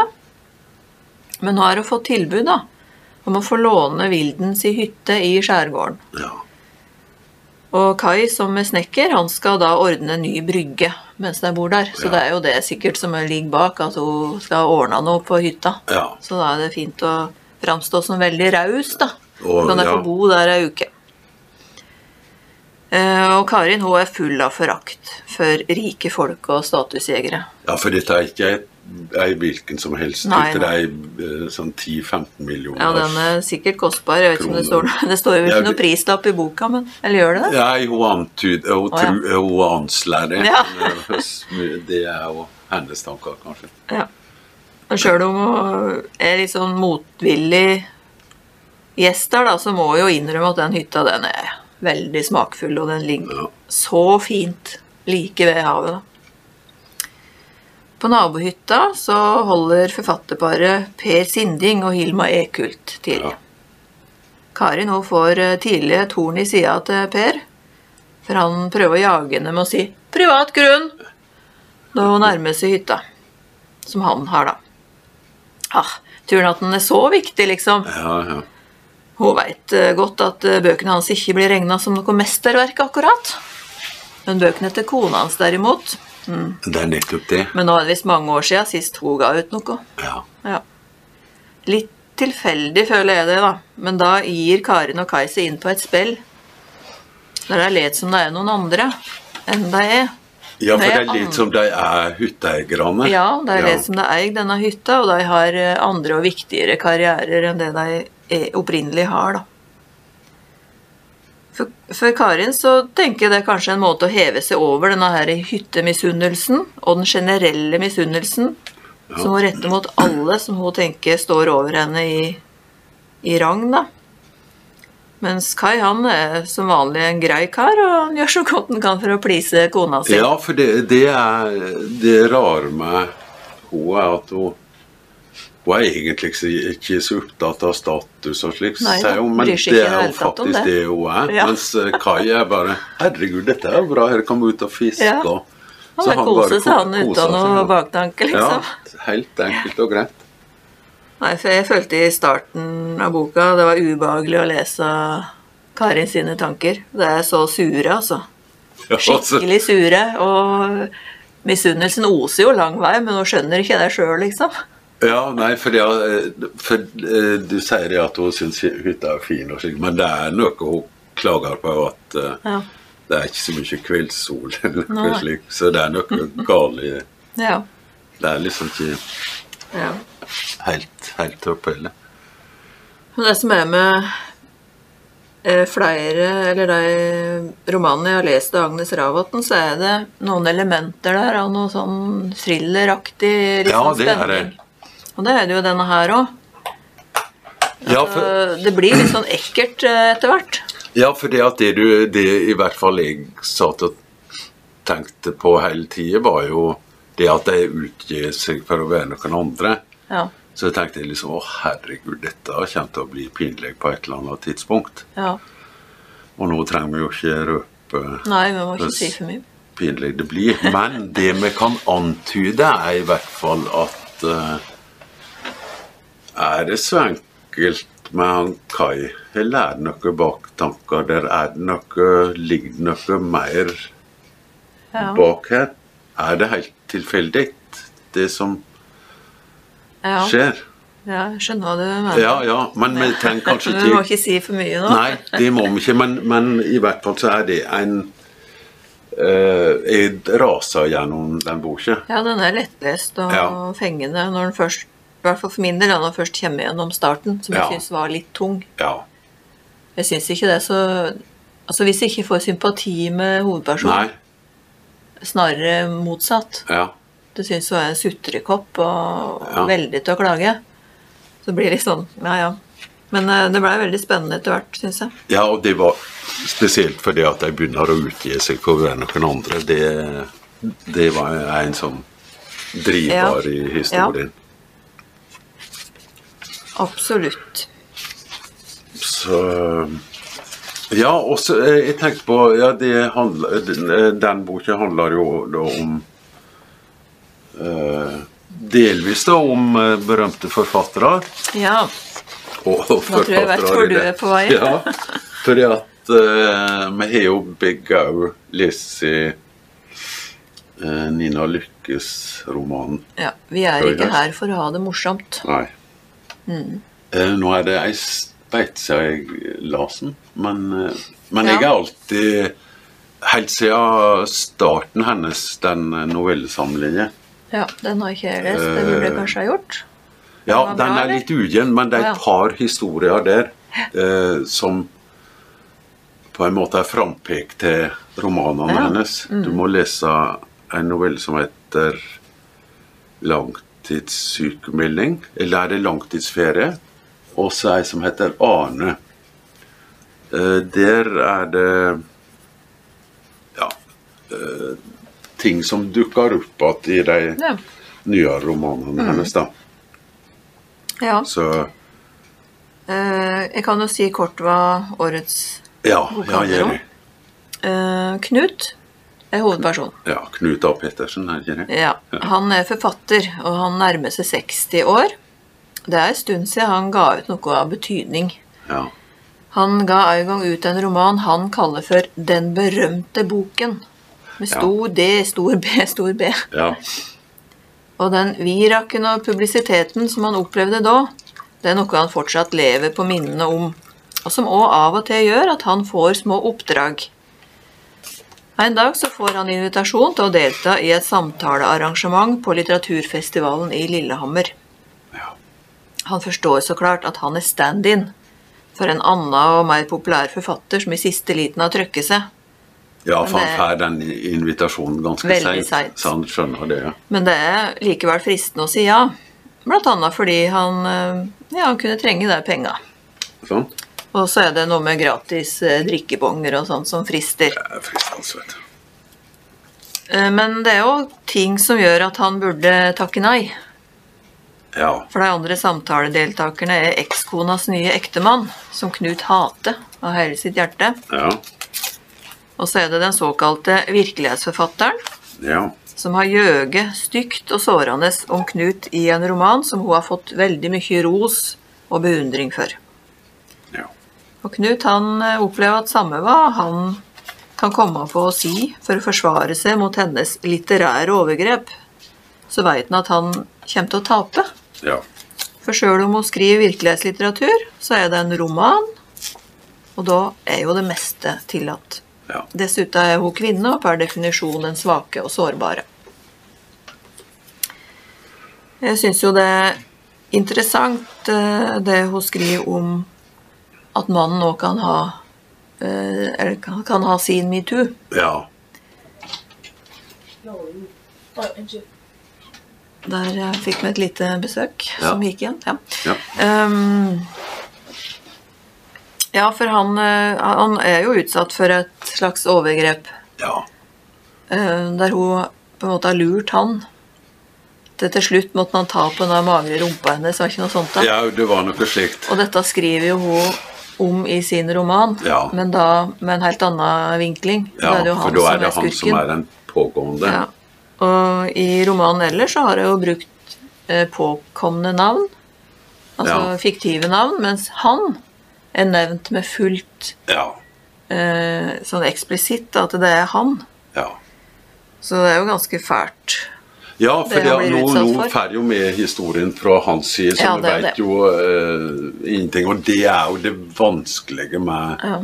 Speaker 2: Men nå har hun fått tilbud da, om å få låne Vildens i hytte i skjærgården.
Speaker 3: Ja.
Speaker 2: Og Kai, som er snekker, han skal da ordne en ny brygge mens de bor der. Så
Speaker 3: Ja.
Speaker 2: det er jo det sikkert som ligger bak, at hun skal ordne noe på hytta.
Speaker 3: Ja.
Speaker 2: Så da er det fint å framstå som veldig raus, da. Så
Speaker 3: Og-
Speaker 2: kan jeg
Speaker 3: ja.
Speaker 2: få bo der ei uke. Eh, Og Karin hun er full av forakt for rike folk og statusjegere.
Speaker 3: ja, for dette er ikke ei- ei hvilken som helst.
Speaker 2: Nei,
Speaker 3: dette er ei eh, sånn 10-15 millioner.
Speaker 2: Ja, den er sikkert kostbar. Jeg vet ikke om det står,
Speaker 3: Kroner.
Speaker 2: det står jo
Speaker 3: Ja,
Speaker 2: ikke noe
Speaker 3: det-
Speaker 2: prislapp i boka, men Eller gjør det det?
Speaker 3: Nei, hun antyder
Speaker 2: Å,
Speaker 3: Hun,
Speaker 2: ja.
Speaker 3: tru- hun anslår det.
Speaker 2: Ja.
Speaker 3: Men, eh, det er jo hennes tanker, kanskje.
Speaker 2: Ja. Men sjøl om hun er litt sånn motvillig gjest der, da, så må hun jo innrømme at den hytta den er veldig smakfull, og den ligger
Speaker 3: Ja.
Speaker 2: så fint like ved havet. da. På nabohytta så holder forfatterparet Per Sinding og Hilma Ekult til.
Speaker 3: Ja.
Speaker 2: Karin hun får eh, tidlig et horn i sida til Per, for han prøver å jage henne med å si 'privat grunn' når hun nærmer seg hytta som han har, da. Ah, tror han at den er så viktig, liksom?
Speaker 3: Ja, ja.
Speaker 2: Hun veit godt at eh, bøkene hans ikke blir regna som noe mesterverk, akkurat. Men bøkene til kona hans, derimot Mm,
Speaker 3: Det er nettopp det.
Speaker 2: Men nå er det visst mange år siden sist hun ga ut noe.
Speaker 3: Ja.
Speaker 2: Ja. Litt tilfeldig føler jeg det, da. Men da gir Karin og Kai seg inn på et spill. Der det er let som det er noen andre enn de er.
Speaker 3: Ja, for
Speaker 2: Det
Speaker 3: det
Speaker 2: er
Speaker 3: er litt som de er hytteeierne.
Speaker 2: Ja, det er det som det eier denne hytta, og de har eh, andre og viktigere karrierer enn det de eh, opprinnelig har, da. For, for Karin så tenker jeg det er kanskje en måte å heve seg over denne her hyttemisunnelsen og den generelle misunnelsen som hun retter mot alle som hun tenker står over henne i, i rang, da. Mens Kai han er som vanlig en grei kar, og han gjør så godt han kan for å please kona si.
Speaker 3: Ja, for det, det er det rare med henne er at hun hun er egentlig ikke så- ikke så opptatt av status og slikt,
Speaker 2: Nei da,
Speaker 3: sier hun, men
Speaker 2: bryr seg
Speaker 3: det
Speaker 2: ikke i det
Speaker 3: er jo
Speaker 2: hele tatt om
Speaker 3: faktisk
Speaker 2: det.
Speaker 3: det hun er.
Speaker 2: Ja.
Speaker 3: Mens eh, Kai er bare 'Herregud, dette er jo bra, her kan vi ut og fiske'.
Speaker 2: Ja.
Speaker 3: og-
Speaker 2: Han
Speaker 3: så
Speaker 2: bare koser seg,
Speaker 3: ko-
Speaker 2: han,
Speaker 3: koser
Speaker 2: uten
Speaker 3: seg,
Speaker 2: noe
Speaker 3: ja.
Speaker 2: baktanke, liksom.
Speaker 3: Ja, helt enkelt og greit.
Speaker 2: Nei, for jeg følte i starten av boka det var ubehagelig å lese Karin sine tanker. Det er så sure, altså.
Speaker 3: Ja, altså,
Speaker 2: Skikkelig sure. Og misunnelsen oser jo lang vei, men hun skjønner ikke det sjøl, liksom.
Speaker 3: Ja, nei, for, det, eh, for eh, du sier det at hun syns hytta er fin, og slik, men det er noe hun klager på at eh,
Speaker 2: Ja.
Speaker 3: det er ikke så mye kveldssol eller noe
Speaker 2: Nei.
Speaker 3: slikt, så det er noe galt i det.
Speaker 2: Ja.
Speaker 3: Det er liksom ikke
Speaker 2: ja.
Speaker 3: helt, helt oppe heller.
Speaker 2: Men det som er med eh, flere, eller de romanene jeg har lest av Agnes Ravatn, så er det noen elementer der av noe sånn thrilleraktig litt
Speaker 3: Ja,
Speaker 2: sånn
Speaker 3: det er
Speaker 2: spenning. Og det er det jo denne her òg.
Speaker 3: Ja, for,
Speaker 2: Så Det blir litt sånn ekkelt eh, etter hvert.
Speaker 3: ja, for det at det du det i hvert fall jeg satt og tenkte på hele tida, var jo det at de utgir seg for å være noen andre.
Speaker 2: Ja,
Speaker 3: Så jeg tenkte liksom å herregud, dette kommer til å bli pinlig på et eller annet tidspunkt.
Speaker 2: ja.
Speaker 3: Og nå trenger vi jo ikke røpe
Speaker 2: Nei, vi må ikke
Speaker 3: Yes.
Speaker 2: si for mye.
Speaker 3: pinlig det blir. Men det vi kan antyde, er i hvert fall at eh, Er det så enkelt snakket med han Kai. Har lært noe baktanker der? Er det noe Ligger det noe mer
Speaker 2: Ja.
Speaker 3: bak her? Er det helt tilfeldig, det som
Speaker 2: Ja.
Speaker 3: skjer?
Speaker 2: ja, jeg skjønner hva du mener.
Speaker 3: Ja, ja, men vi trenger kanskje
Speaker 2: Men Vi
Speaker 3: ikke
Speaker 2: må ikke si for mye nå.
Speaker 3: Nei, det må vi ikke, men, men i hvert fall så er det en eh, Jeg raser gjennom den boka.
Speaker 2: Ja, den er lettlest og
Speaker 3: Ja.
Speaker 2: fengende når den først, i hvert fall for min del, da, når den først kommer gjennom starten, som
Speaker 3: Ja.
Speaker 2: jeg syns var litt tung.
Speaker 3: Ja.
Speaker 2: Jeg syns ikke det, så Altså hvis jeg ikke får sympati med
Speaker 3: Nei.
Speaker 2: hovedpersonen, snarere motsatt.
Speaker 3: Ja.
Speaker 2: Du syns hun er en sutrekopp og
Speaker 3: Ja.
Speaker 2: veldig til å klage. Så det blir litt sånn, ja ja. Men eh, det blei veldig spennende etter hvert, syns jeg.
Speaker 3: Ja, og det var spesielt fordi at de begynner å utgi seg for hverandre og andre. Det, det var en sånn drivbar i
Speaker 2: Ja.
Speaker 3: historien.
Speaker 2: Absolutt.
Speaker 3: Så Ja, og så eh, jeg tenkte på ja, det handler, den, eh, den boka handler jo da om eh, Delvis da om eh, berømte forfattere.
Speaker 2: Ja.
Speaker 3: Og
Speaker 2: tror jeg jeg vet
Speaker 3: forfattere
Speaker 2: hvor
Speaker 3: i
Speaker 2: du
Speaker 3: det.
Speaker 2: er på vei.
Speaker 3: Ja, fordi at eh, vi har jo begge òg lest eh, Nina Lykkes roman.
Speaker 2: ja. Vi er
Speaker 3: Skal vi
Speaker 2: ikke
Speaker 3: gjøre?
Speaker 2: her for å ha det morsomt.
Speaker 3: Nei. Eh, nå er det ei speitse jeg lasen, men, eh, men jeg
Speaker 2: Ja.
Speaker 3: er alltid Helt siden starten hennes, den eh, novellesamlingen
Speaker 2: Ja, Den har ikke jeg lest. Det burde jeg kanskje ha gjort.
Speaker 3: Ja,
Speaker 2: Den var
Speaker 3: den
Speaker 2: bra,
Speaker 3: er
Speaker 2: eller?
Speaker 3: litt ujevn, men det
Speaker 2: Å,
Speaker 3: er et
Speaker 2: ja.
Speaker 3: par historier der eh, som på en måte er frampek til romanene
Speaker 2: Ja. Mm.
Speaker 3: hennes. Du må lese en novelle som heter 'Langtidssykemelding', eller er det 'Langtidsferie'? Og så ei som heter 'Arne'. Eh, der er det ja eh, ting som dukker opp igjen i de
Speaker 2: Ja. Mm.
Speaker 3: nyere romanene hennes, da.
Speaker 2: ja.
Speaker 3: Så
Speaker 2: Eh, jeg kan jo si kort hva årets
Speaker 3: Ja,
Speaker 2: Hun
Speaker 3: ja,
Speaker 2: kan det
Speaker 3: gjør
Speaker 2: jo.
Speaker 3: det.
Speaker 2: eh, Knut er hovedperson.
Speaker 3: Ja, Knut A. Pettersen, er det ikke det?
Speaker 2: Ja, Han er forfatter, og han nærmer seg 60 år. Det er en stund siden han ga ut noe av betydning.
Speaker 3: Ja.
Speaker 2: Han ga en gang ut en roman han kaller for 'Den berømte boken', med
Speaker 3: Ja.
Speaker 2: stor D, stor B, stor B.
Speaker 3: ja.
Speaker 2: Og den viraken og publisiteten som han opplevde da, det er noe han fortsatt lever på minnene om, og som òg av og til gjør at han får små oppdrag. En dag så får han invitasjon til å delta i et samtalearrangement på litteraturfestivalen i Lillehammer.
Speaker 3: Ja.
Speaker 2: Han forstår så klart at han er stand-in for en annen og mer populær forfatter som i siste liten har trøkket seg.
Speaker 3: ja, for
Speaker 2: det-
Speaker 3: han får den invitasjonen ganske
Speaker 2: eh, Veldig sent.
Speaker 3: seint, så han skjønner det. ja.
Speaker 2: Men det er likevel fristende å si ja, blant annet fordi han, eh, ja, han kunne trenge de penga.
Speaker 3: Sånn.
Speaker 2: Og så er det noe med gratis eh, drikkebonger og sånt som frister.
Speaker 3: Det er fristende, vet du.
Speaker 2: Eh, Men det er jo ting som gjør at han burde takke nei.
Speaker 3: Ja.
Speaker 2: For de andre samtaledeltakerne er ekskonas nye ektemann, som Knut hater av hele sitt hjerte.
Speaker 3: Ja.
Speaker 2: Og så er det den såkalte virkelighetsforfatteren,
Speaker 3: Ja.
Speaker 2: som har gjøget stygt og sårende om Knut i en roman som hun har fått veldig mye ros og beundring for.
Speaker 3: ja.
Speaker 2: Og Knut han eh, opplever at samme hva han kan komme på å si for å forsvare seg mot hennes litterære overgrep, så veit han at han kommer til å tape.
Speaker 3: Ja.
Speaker 2: For sjøl om hun skriver virkelighetslitteratur, så er det en roman, og da er jo det meste tillatt.
Speaker 3: Ja.
Speaker 2: Dessuten er hun kvinne og per definisjon den svake og sårbare. Jeg syns jo det er interessant eh, det hun skriver om at mannen nå kan ha eh, eller kan, kan ha sin metoo.
Speaker 3: ja.
Speaker 2: Der eh, fikk vi et lite besøk
Speaker 3: Ja.
Speaker 2: som gikk igjen. Ja.
Speaker 3: ja.
Speaker 2: Ehm, ja, for han, eh, han er jo utsatt for et slags overgrep
Speaker 3: ja.
Speaker 2: eh, der hun på en måte har lurt han. Til til slutt måtte han ta på den magre rumpa hennes, var ikke noe sånt da.
Speaker 3: Ja, det var noe slikt.
Speaker 2: Og dette skriver jo hun om i sin roman,
Speaker 3: Ja.
Speaker 2: men da med en helt annen vinkling. Da
Speaker 3: Ja,
Speaker 2: er det jo
Speaker 3: for
Speaker 2: han
Speaker 3: da
Speaker 2: som
Speaker 3: er det
Speaker 2: er
Speaker 3: han som
Speaker 2: skurken.
Speaker 3: er den pågående.
Speaker 2: Ja. Og i romanen ellers så har jeg jo brukt eh, påkomne navn. altså
Speaker 3: Ja.
Speaker 2: fiktive navn, mens han er nevnt med fullt
Speaker 3: Ja.
Speaker 2: eh, sånn eksplisitt at det er han.
Speaker 3: ja.
Speaker 2: Så det er jo ganske fælt.
Speaker 3: Ja,
Speaker 2: Det
Speaker 3: for det,
Speaker 2: blir
Speaker 3: nå,
Speaker 2: utsatt
Speaker 3: nå
Speaker 2: for.
Speaker 3: får jo med historien fra hans side, så
Speaker 2: Ja,
Speaker 3: vi
Speaker 2: det er
Speaker 3: vet
Speaker 2: det.
Speaker 3: jo eh, ingenting. Og det er jo det vanskelige med
Speaker 2: Ja.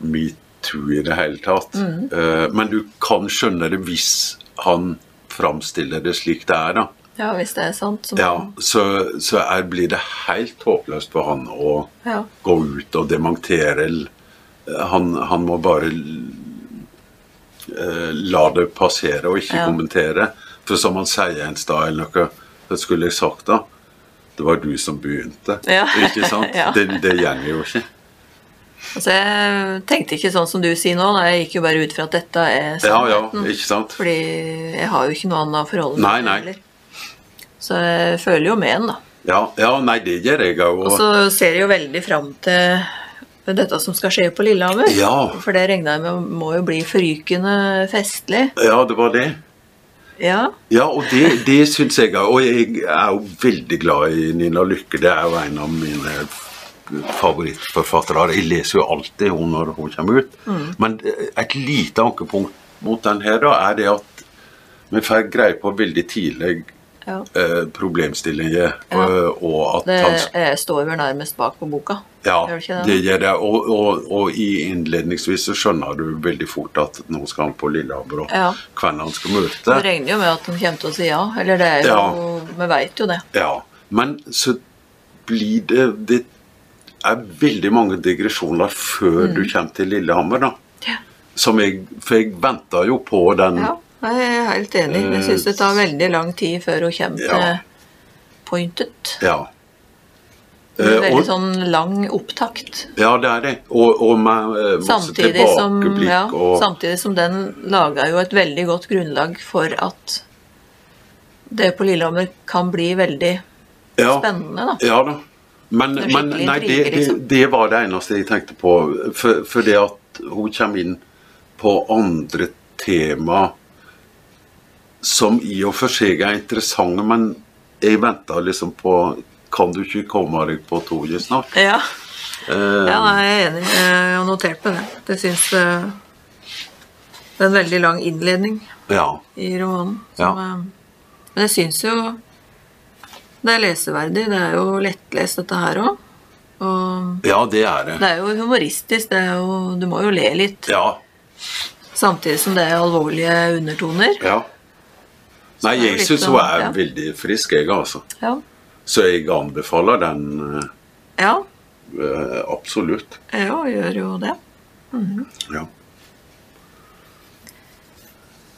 Speaker 3: metoo i det hele tatt.
Speaker 2: Mm.
Speaker 3: Eh, men du kan skjønne det hvis han framstiller det slik det er, da.
Speaker 2: Ja, hvis det er sant. Så,
Speaker 3: Ja, så, så er, blir det helt håpløst for han å
Speaker 2: Ja.
Speaker 3: gå ut og dementere. l- Han, han må bare l- eh, la det passere og ikke
Speaker 2: Ja.
Speaker 3: kommentere. For som han sier en stad eller noe, det skulle jeg sagt da, det var du som begynte.
Speaker 2: Ja.
Speaker 3: Ikke sant?
Speaker 2: Ja.
Speaker 3: Det, det gjelder jo ikke.
Speaker 2: Altså, jeg tenkte ikke sånn som du sier nå, da. jeg gikk jo bare ut fra at dette er
Speaker 3: Ja, ja,
Speaker 2: sannheten.
Speaker 3: ikke sant?
Speaker 2: Fordi jeg har jo ikke noe annet forhold
Speaker 3: Nei, nei.
Speaker 2: Så jeg føler jo med en, da.
Speaker 3: Ja, ja nei, det gjør jeg òg.
Speaker 2: Og så ser jeg jo veldig fram til dette som skal skje på Lillehammer.
Speaker 3: Ja.
Speaker 2: For det regner jeg med må jo bli forrykende festlig.
Speaker 3: Ja, det var det.
Speaker 2: Ja.
Speaker 3: Ja, og det, det syns jeg òg. Og jeg er jo veldig glad i Nina Lykke. Det er jo en av mine favorittforfattere. Jeg leser jo alltid henne når hun kommer ut.
Speaker 2: Mm.
Speaker 3: Men et lite ankepunkt mot den her da, er det at vi får greie på veldig tidlig
Speaker 2: ja.
Speaker 3: eh, problemstillinger,
Speaker 2: Ja.
Speaker 3: og, og at
Speaker 2: Det
Speaker 3: han
Speaker 2: eh, står vel nærmest bak på boka.
Speaker 3: ja,
Speaker 2: Gjør det ikke det?
Speaker 3: det gjør det. Og, og, og i innledningsvis så skjønner du veldig fort at nå skal han på Lillehammer, og
Speaker 2: Ja.
Speaker 3: hvem han skal møte.
Speaker 2: Det regner jo med at han kommer til å si ja. Eller det er jo
Speaker 3: Ja.
Speaker 2: Vi veit jo det.
Speaker 3: Ja, men så blir det Det er veldig mange digresjoner før du kommer til Lillehammer, da.
Speaker 2: Mm. Ja.
Speaker 3: Som jeg For jeg venta jo på den
Speaker 2: Ja, jeg er helt enig. Jeg syns det tar veldig lang tid før hun kommer til
Speaker 3: Eh, Ja.
Speaker 2: pointet.
Speaker 3: Ja,
Speaker 2: Det er
Speaker 3: Eh,
Speaker 2: veldig
Speaker 3: og-
Speaker 2: sånn lang opptakt.
Speaker 3: ja det er det. Og, og med eh, masse
Speaker 2: Samtidig som,
Speaker 3: tilbakeblikk
Speaker 2: ja,
Speaker 3: og
Speaker 2: samtidig som den laga jo et veldig godt grunnlag for at det på Lillehammer kan bli veldig
Speaker 3: ja,
Speaker 2: spennende, da.
Speaker 3: Ja da. Men,
Speaker 2: Det er
Speaker 3: men
Speaker 2: skikkelig
Speaker 3: nei, det,
Speaker 2: intriger,
Speaker 3: det,
Speaker 2: liksom.
Speaker 3: det var det eneste jeg tenkte på. For, for det at hun kommer inn på andre tema som i og for seg er interessante, men jeg venta liksom på Kan du ikke komme deg på toget snart?
Speaker 2: Ja,
Speaker 3: Eh,
Speaker 2: ja nei, jeg er enig. Jeg har notert meg det. Det syns eh, Det er en veldig lang innledning
Speaker 3: ja.
Speaker 2: i romanen.
Speaker 3: Ja.
Speaker 2: Som, eh, men jeg syns jo det er leseverdig. Det er jo lettlest, dette her òg. Og
Speaker 3: ja, det er det.
Speaker 2: det er jo humoristisk. Det er jo, du må jo le litt.
Speaker 3: Ja.
Speaker 2: Samtidig som det er alvorlige undertoner.
Speaker 3: ja. Nei,
Speaker 2: det er
Speaker 3: jeg
Speaker 2: litt
Speaker 3: syns
Speaker 2: sånn,
Speaker 3: hun er
Speaker 2: ja.
Speaker 3: veldig frisk, jeg, altså.
Speaker 2: Ja.
Speaker 3: Så jeg anbefaler den
Speaker 2: ja.
Speaker 3: eh, absolutt.
Speaker 2: Ja, gjør jo det.
Speaker 3: Ja.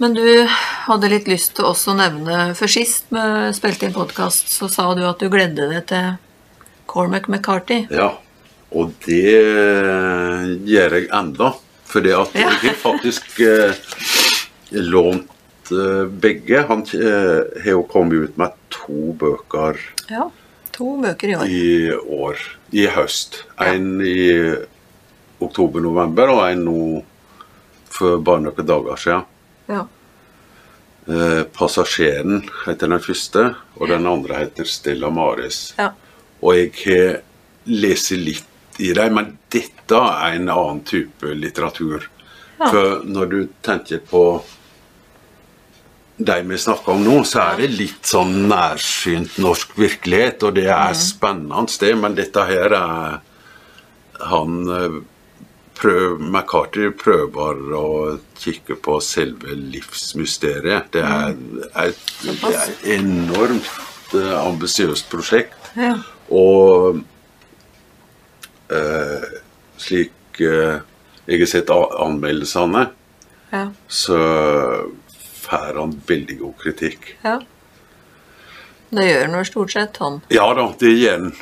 Speaker 2: Men du hadde litt lyst til også å nevne For sist vi spilte inn podkast, så sa du at du gledde deg til Cormac McCarthy.
Speaker 3: Ja, og det gjør jeg enda. For det at
Speaker 2: Ja.
Speaker 3: jeg har faktisk eh, lånt eh, begge. Han eh, har jo kommet ut med to bøker
Speaker 2: Ja. To bøker i år.
Speaker 3: i år, i høst. En i oktober-november og en nå for bare noen dager siden.
Speaker 2: Ja.
Speaker 3: Eh, 'Passasjeren' heter den første, og den andre heter 'Stella Maris'.
Speaker 2: ja.
Speaker 3: Og jeg har lest litt i dem, men dette er en annen type litteratur.
Speaker 2: Ja.
Speaker 3: For når du tenker på de vi snakker om nå, så er det litt sånn nærsynt norsk virkelighet, og det er spennende sted, men dette her er han eh, prøv, McCarthy prøver å kikke på selve livsmysteriet. Det er et, det er et enormt eh, ambisiøst prosjekt.
Speaker 2: ja.
Speaker 3: Og eh, slik eh, jeg har sett a- anmeldelsene,
Speaker 2: ja.
Speaker 3: så får han veldig god kritikk.
Speaker 2: ja. Det gjør han vel stort sett, han.
Speaker 3: Ja da, det gjør han.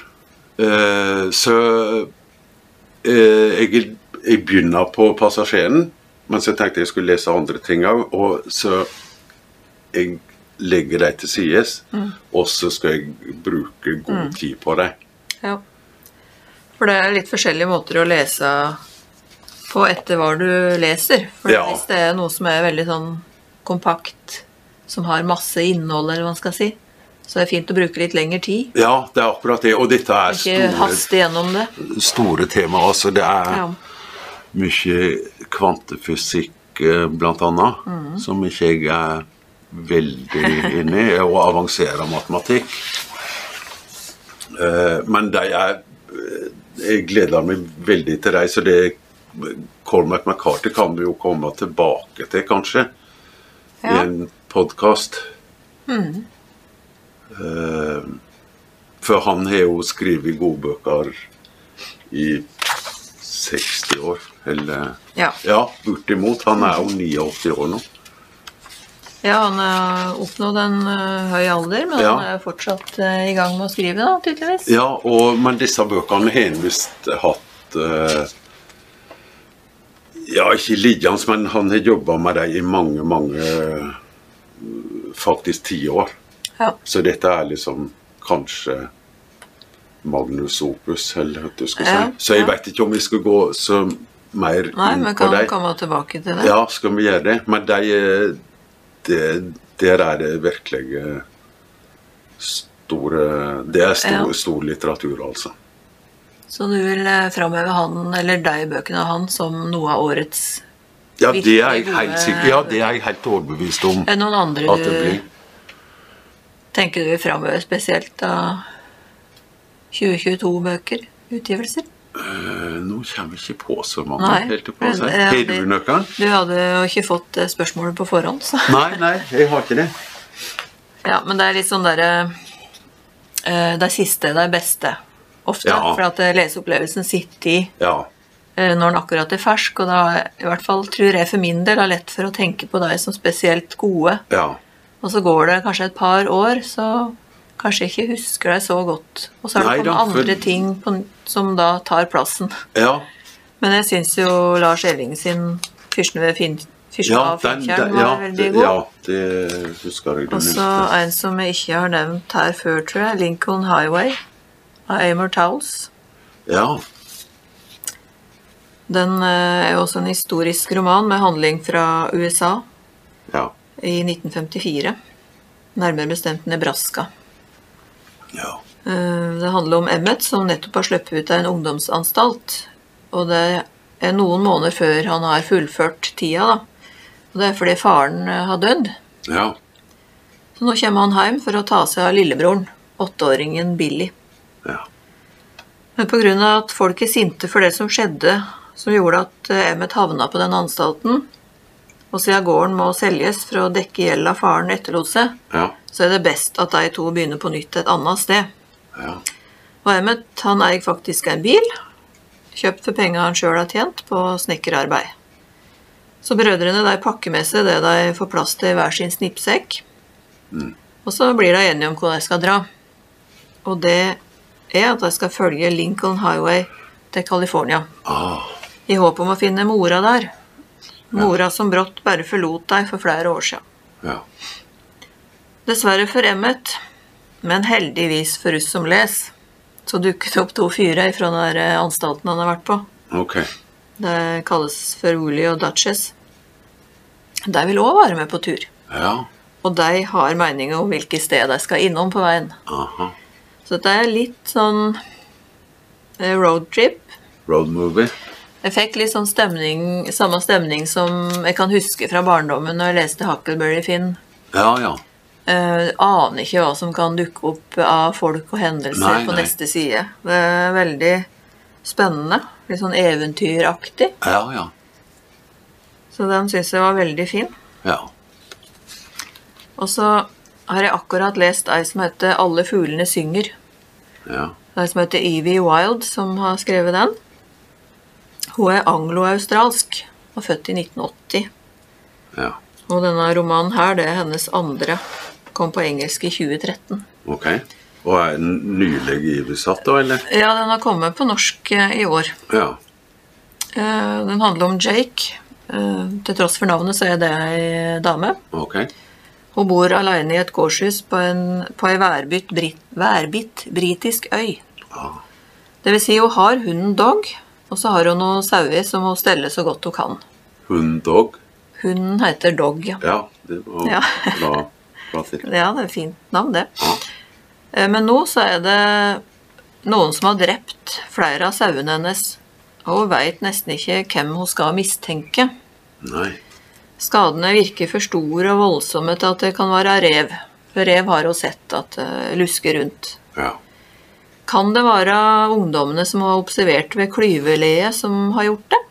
Speaker 3: Eh, så eh, jeg, jeg begynner på passasjeren, men så tenkte jeg skulle lese andre ting òg, og så jeg legger dem til sides, og så skal jeg bruke god tid på dem.
Speaker 2: Ja. For det er litt forskjellige måter å lese på etter hva du leser. For
Speaker 3: Ja.
Speaker 2: hvis det er noe som er veldig sånn kompakt, som har masse innhold, eller hva man skal si, Så det er fint å bruke litt lengre tid.
Speaker 3: Ja, det er akkurat det. Og dette er
Speaker 2: Ikke haste
Speaker 3: store,
Speaker 2: gjennom det.
Speaker 3: store tema. Altså, det er
Speaker 2: Ja.
Speaker 3: mye kvantefysikk eh, blant annet, som ikke jeg er veldig inne i, og avansert matematikk. Eh, Men de er eh, Jeg gleder meg veldig til dem, så det Cormac McCarthy kan vi jo komme tilbake til, kanskje, i
Speaker 2: Ja.
Speaker 3: en podkast. Eh, For han har jo skrevet godbøker i 60 år, eller
Speaker 2: Ja.
Speaker 3: bortimot. Han er jo 89 år nå.
Speaker 2: Ja, han har oppnådd en eh, høy alder, men
Speaker 3: Ja.
Speaker 2: han er fortsatt eh, i gang med å skrive, da, tydeligvis.
Speaker 3: Ja, og, men disse bøkene har han visst hatt eh, Ja, ikke liggende, men han har jobba med dem i mange, mange eh, Faktisk ti år.
Speaker 2: Ja.
Speaker 3: Så dette er liksom kanskje Magnus opus, eller hva du skal si.
Speaker 2: Ja,
Speaker 3: Så jeg
Speaker 2: ja.
Speaker 3: vet ikke om vi skal gå så mer
Speaker 2: Nei,
Speaker 3: inn
Speaker 2: men
Speaker 3: på
Speaker 2: kan
Speaker 3: dem.
Speaker 2: komme tilbake til det.
Speaker 3: Ja, skal vi gjøre det? Men de, eh, det- der er det virkelig eh, store Det er stor,
Speaker 2: Ja.
Speaker 3: stor litteratur, altså.
Speaker 2: Så du vil eh, framheve han, eller deg, bøkene av han, som noe av årets
Speaker 3: Ja, det er jeg
Speaker 2: Virkelig gode-
Speaker 3: helt sikker Ja, det er jeg helt overbevist om
Speaker 2: Er det eh, noen andre
Speaker 3: at det blir.
Speaker 2: du tenker du vil framheve spesielt av 2022-bøker? Utgivelser?
Speaker 3: Eh, Nå kommer jeg ikke på så mange
Speaker 2: Nei,
Speaker 3: helt på
Speaker 2: men,
Speaker 3: seg.
Speaker 2: eh,
Speaker 3: Har
Speaker 2: det-
Speaker 3: du noen?
Speaker 2: Du hadde jo ikke fått det spørsmålet på forhånd, så
Speaker 3: Nei, nei, jeg har ikke det.
Speaker 2: Ja, men det er litt sånn derre eh, Det er siste, det er beste. Ofte.
Speaker 3: Ja.
Speaker 2: For at eh, leseopplevelsen sitter i
Speaker 3: Ja.
Speaker 2: eh, når den akkurat er fersk, og da er- i hvert fall tror jeg for min del er lett for å tenke på deg som spesielt gode.
Speaker 3: ja.
Speaker 2: Og så går det kanskje et par år, så kanskje jeg ikke husker deg så godt. Og så er det
Speaker 3: Nei
Speaker 2: kommet
Speaker 3: da, for-
Speaker 2: andre ting på, n- som da tar plassen.
Speaker 3: Ja,
Speaker 2: Men jeg syns jo Lars Elling sin 'Fyrsten ved Finn... Fyrsten
Speaker 3: ja,
Speaker 2: av
Speaker 3: den,
Speaker 2: Finkjern'
Speaker 3: den,
Speaker 2: var
Speaker 3: ja,
Speaker 2: veldig
Speaker 3: det,
Speaker 2: god.
Speaker 3: ja, det husker jeg du
Speaker 2: Og så
Speaker 3: nevnte.
Speaker 2: en som jeg ikke har nevnt her før, tror jeg. 'Lincoln Highway' av Amor Towles.
Speaker 3: Ja,
Speaker 2: Den eh, er jo også en historisk roman med handling fra USA
Speaker 3: ja,
Speaker 2: i 1954. Nærmere bestemt Nebraska.
Speaker 3: ja.
Speaker 2: Eh, Det handler om Emmet som nettopp har sluppet ut av en ungdomsanstalt. Og det er noen måneder før han har fullført tida, da. Og det er fordi faren eh, har dødd.
Speaker 3: Ja,
Speaker 2: Så nå kommer han hjem for å ta seg av lillebroren, åtteåringen Billy.
Speaker 3: ja.
Speaker 2: Men pga. at folk er sinte for det som skjedde, som gjorde at eh, Emmet havna på den anstalten, og siden gården må selges for å dekke gjelda faren etterlot seg,
Speaker 3: ja,
Speaker 2: så er det best at de to begynner på nytt et annet sted.
Speaker 3: ja.
Speaker 2: Og Emmet han eier faktisk en bil, kjøpt for penger han sjøl har tjent på snekkerarbeid. Så brødrene de pakker med seg det de får plass til i hver sin snippsekk. Og så blir de enige om hvor de skal dra. Og det er at de skal følge Lincoln Highway til California,
Speaker 3: Ah,
Speaker 2: i håp om å finne mora der. Mora som brått bare forlot deg for flere år siden.
Speaker 3: ja.
Speaker 2: Dessverre for Emmet, men heldigvis for oss som les, så dukket det opp to fyrer fra den der eh, anstalten han har vært på.
Speaker 3: Ok.
Speaker 2: Det kalles for Woolly og Duchess. De vil òg være med på tur,
Speaker 3: Ja.
Speaker 2: og de har meninger om hvilke steder de skal innom på veien.
Speaker 3: Aha.
Speaker 2: Så dette er litt sånn eh, roadtrip.
Speaker 3: Road movie.
Speaker 2: Jeg fikk litt sånn stemning, samme stemning som jeg kan huske fra barndommen når jeg leste Huckleberry Finn.
Speaker 3: Ja, ja.
Speaker 2: Eh, aner ikke hva som kan dukke opp av folk og hendelser
Speaker 3: Nei,
Speaker 2: på
Speaker 3: nei.
Speaker 2: neste side. Det er veldig spennende. Litt sånn eventyraktig.
Speaker 3: Ja, ja.
Speaker 2: Så den syns jeg var veldig fin.
Speaker 3: Ja.
Speaker 2: Og så har jeg akkurat lest ei som heter 'Alle fuglene synger'.
Speaker 3: Ja.
Speaker 2: Det er ei som heter Evie Wild, som har skrevet den. Hun er anglo-australsk og født i 1980.
Speaker 3: ja.
Speaker 2: Og denne romanen her, det er hennes andre. Kom på engelsk i 2013.
Speaker 3: Ok. Og er den nylig iversatt, da, eller?
Speaker 2: Ja, den har kommet på norsk eh, i år.
Speaker 3: Ja.
Speaker 2: Eh, Den handler om Jake. Eh, Til tross for navnet så er det ei dame.
Speaker 3: Ok.
Speaker 2: Hun bor alene i et gårdshus på, en, på ei værbitt, brit, værbitt britisk øy.
Speaker 3: Ah.
Speaker 2: Det vil si hun har hunden Dog, og så har hun noen sauer som hun steller så godt hun kan.
Speaker 3: Hund dog.
Speaker 2: Hunden heter Dog, ja.
Speaker 3: Ja, det var
Speaker 2: Ja.
Speaker 3: bra. Katter.
Speaker 2: Ja, det er et fint navn, det. Eh, Men nå så er det noen som har drept flere av sauene hennes, og hun veit nesten ikke hvem hun skal mistenke.
Speaker 3: Nei.
Speaker 2: Skadene virker for store og voldsomme til at det kan være rev. For rev har hun sett at det lusker rundt.
Speaker 3: Ja.
Speaker 2: Kan det være ungdommene som har observert ved klyveleet som har gjort det?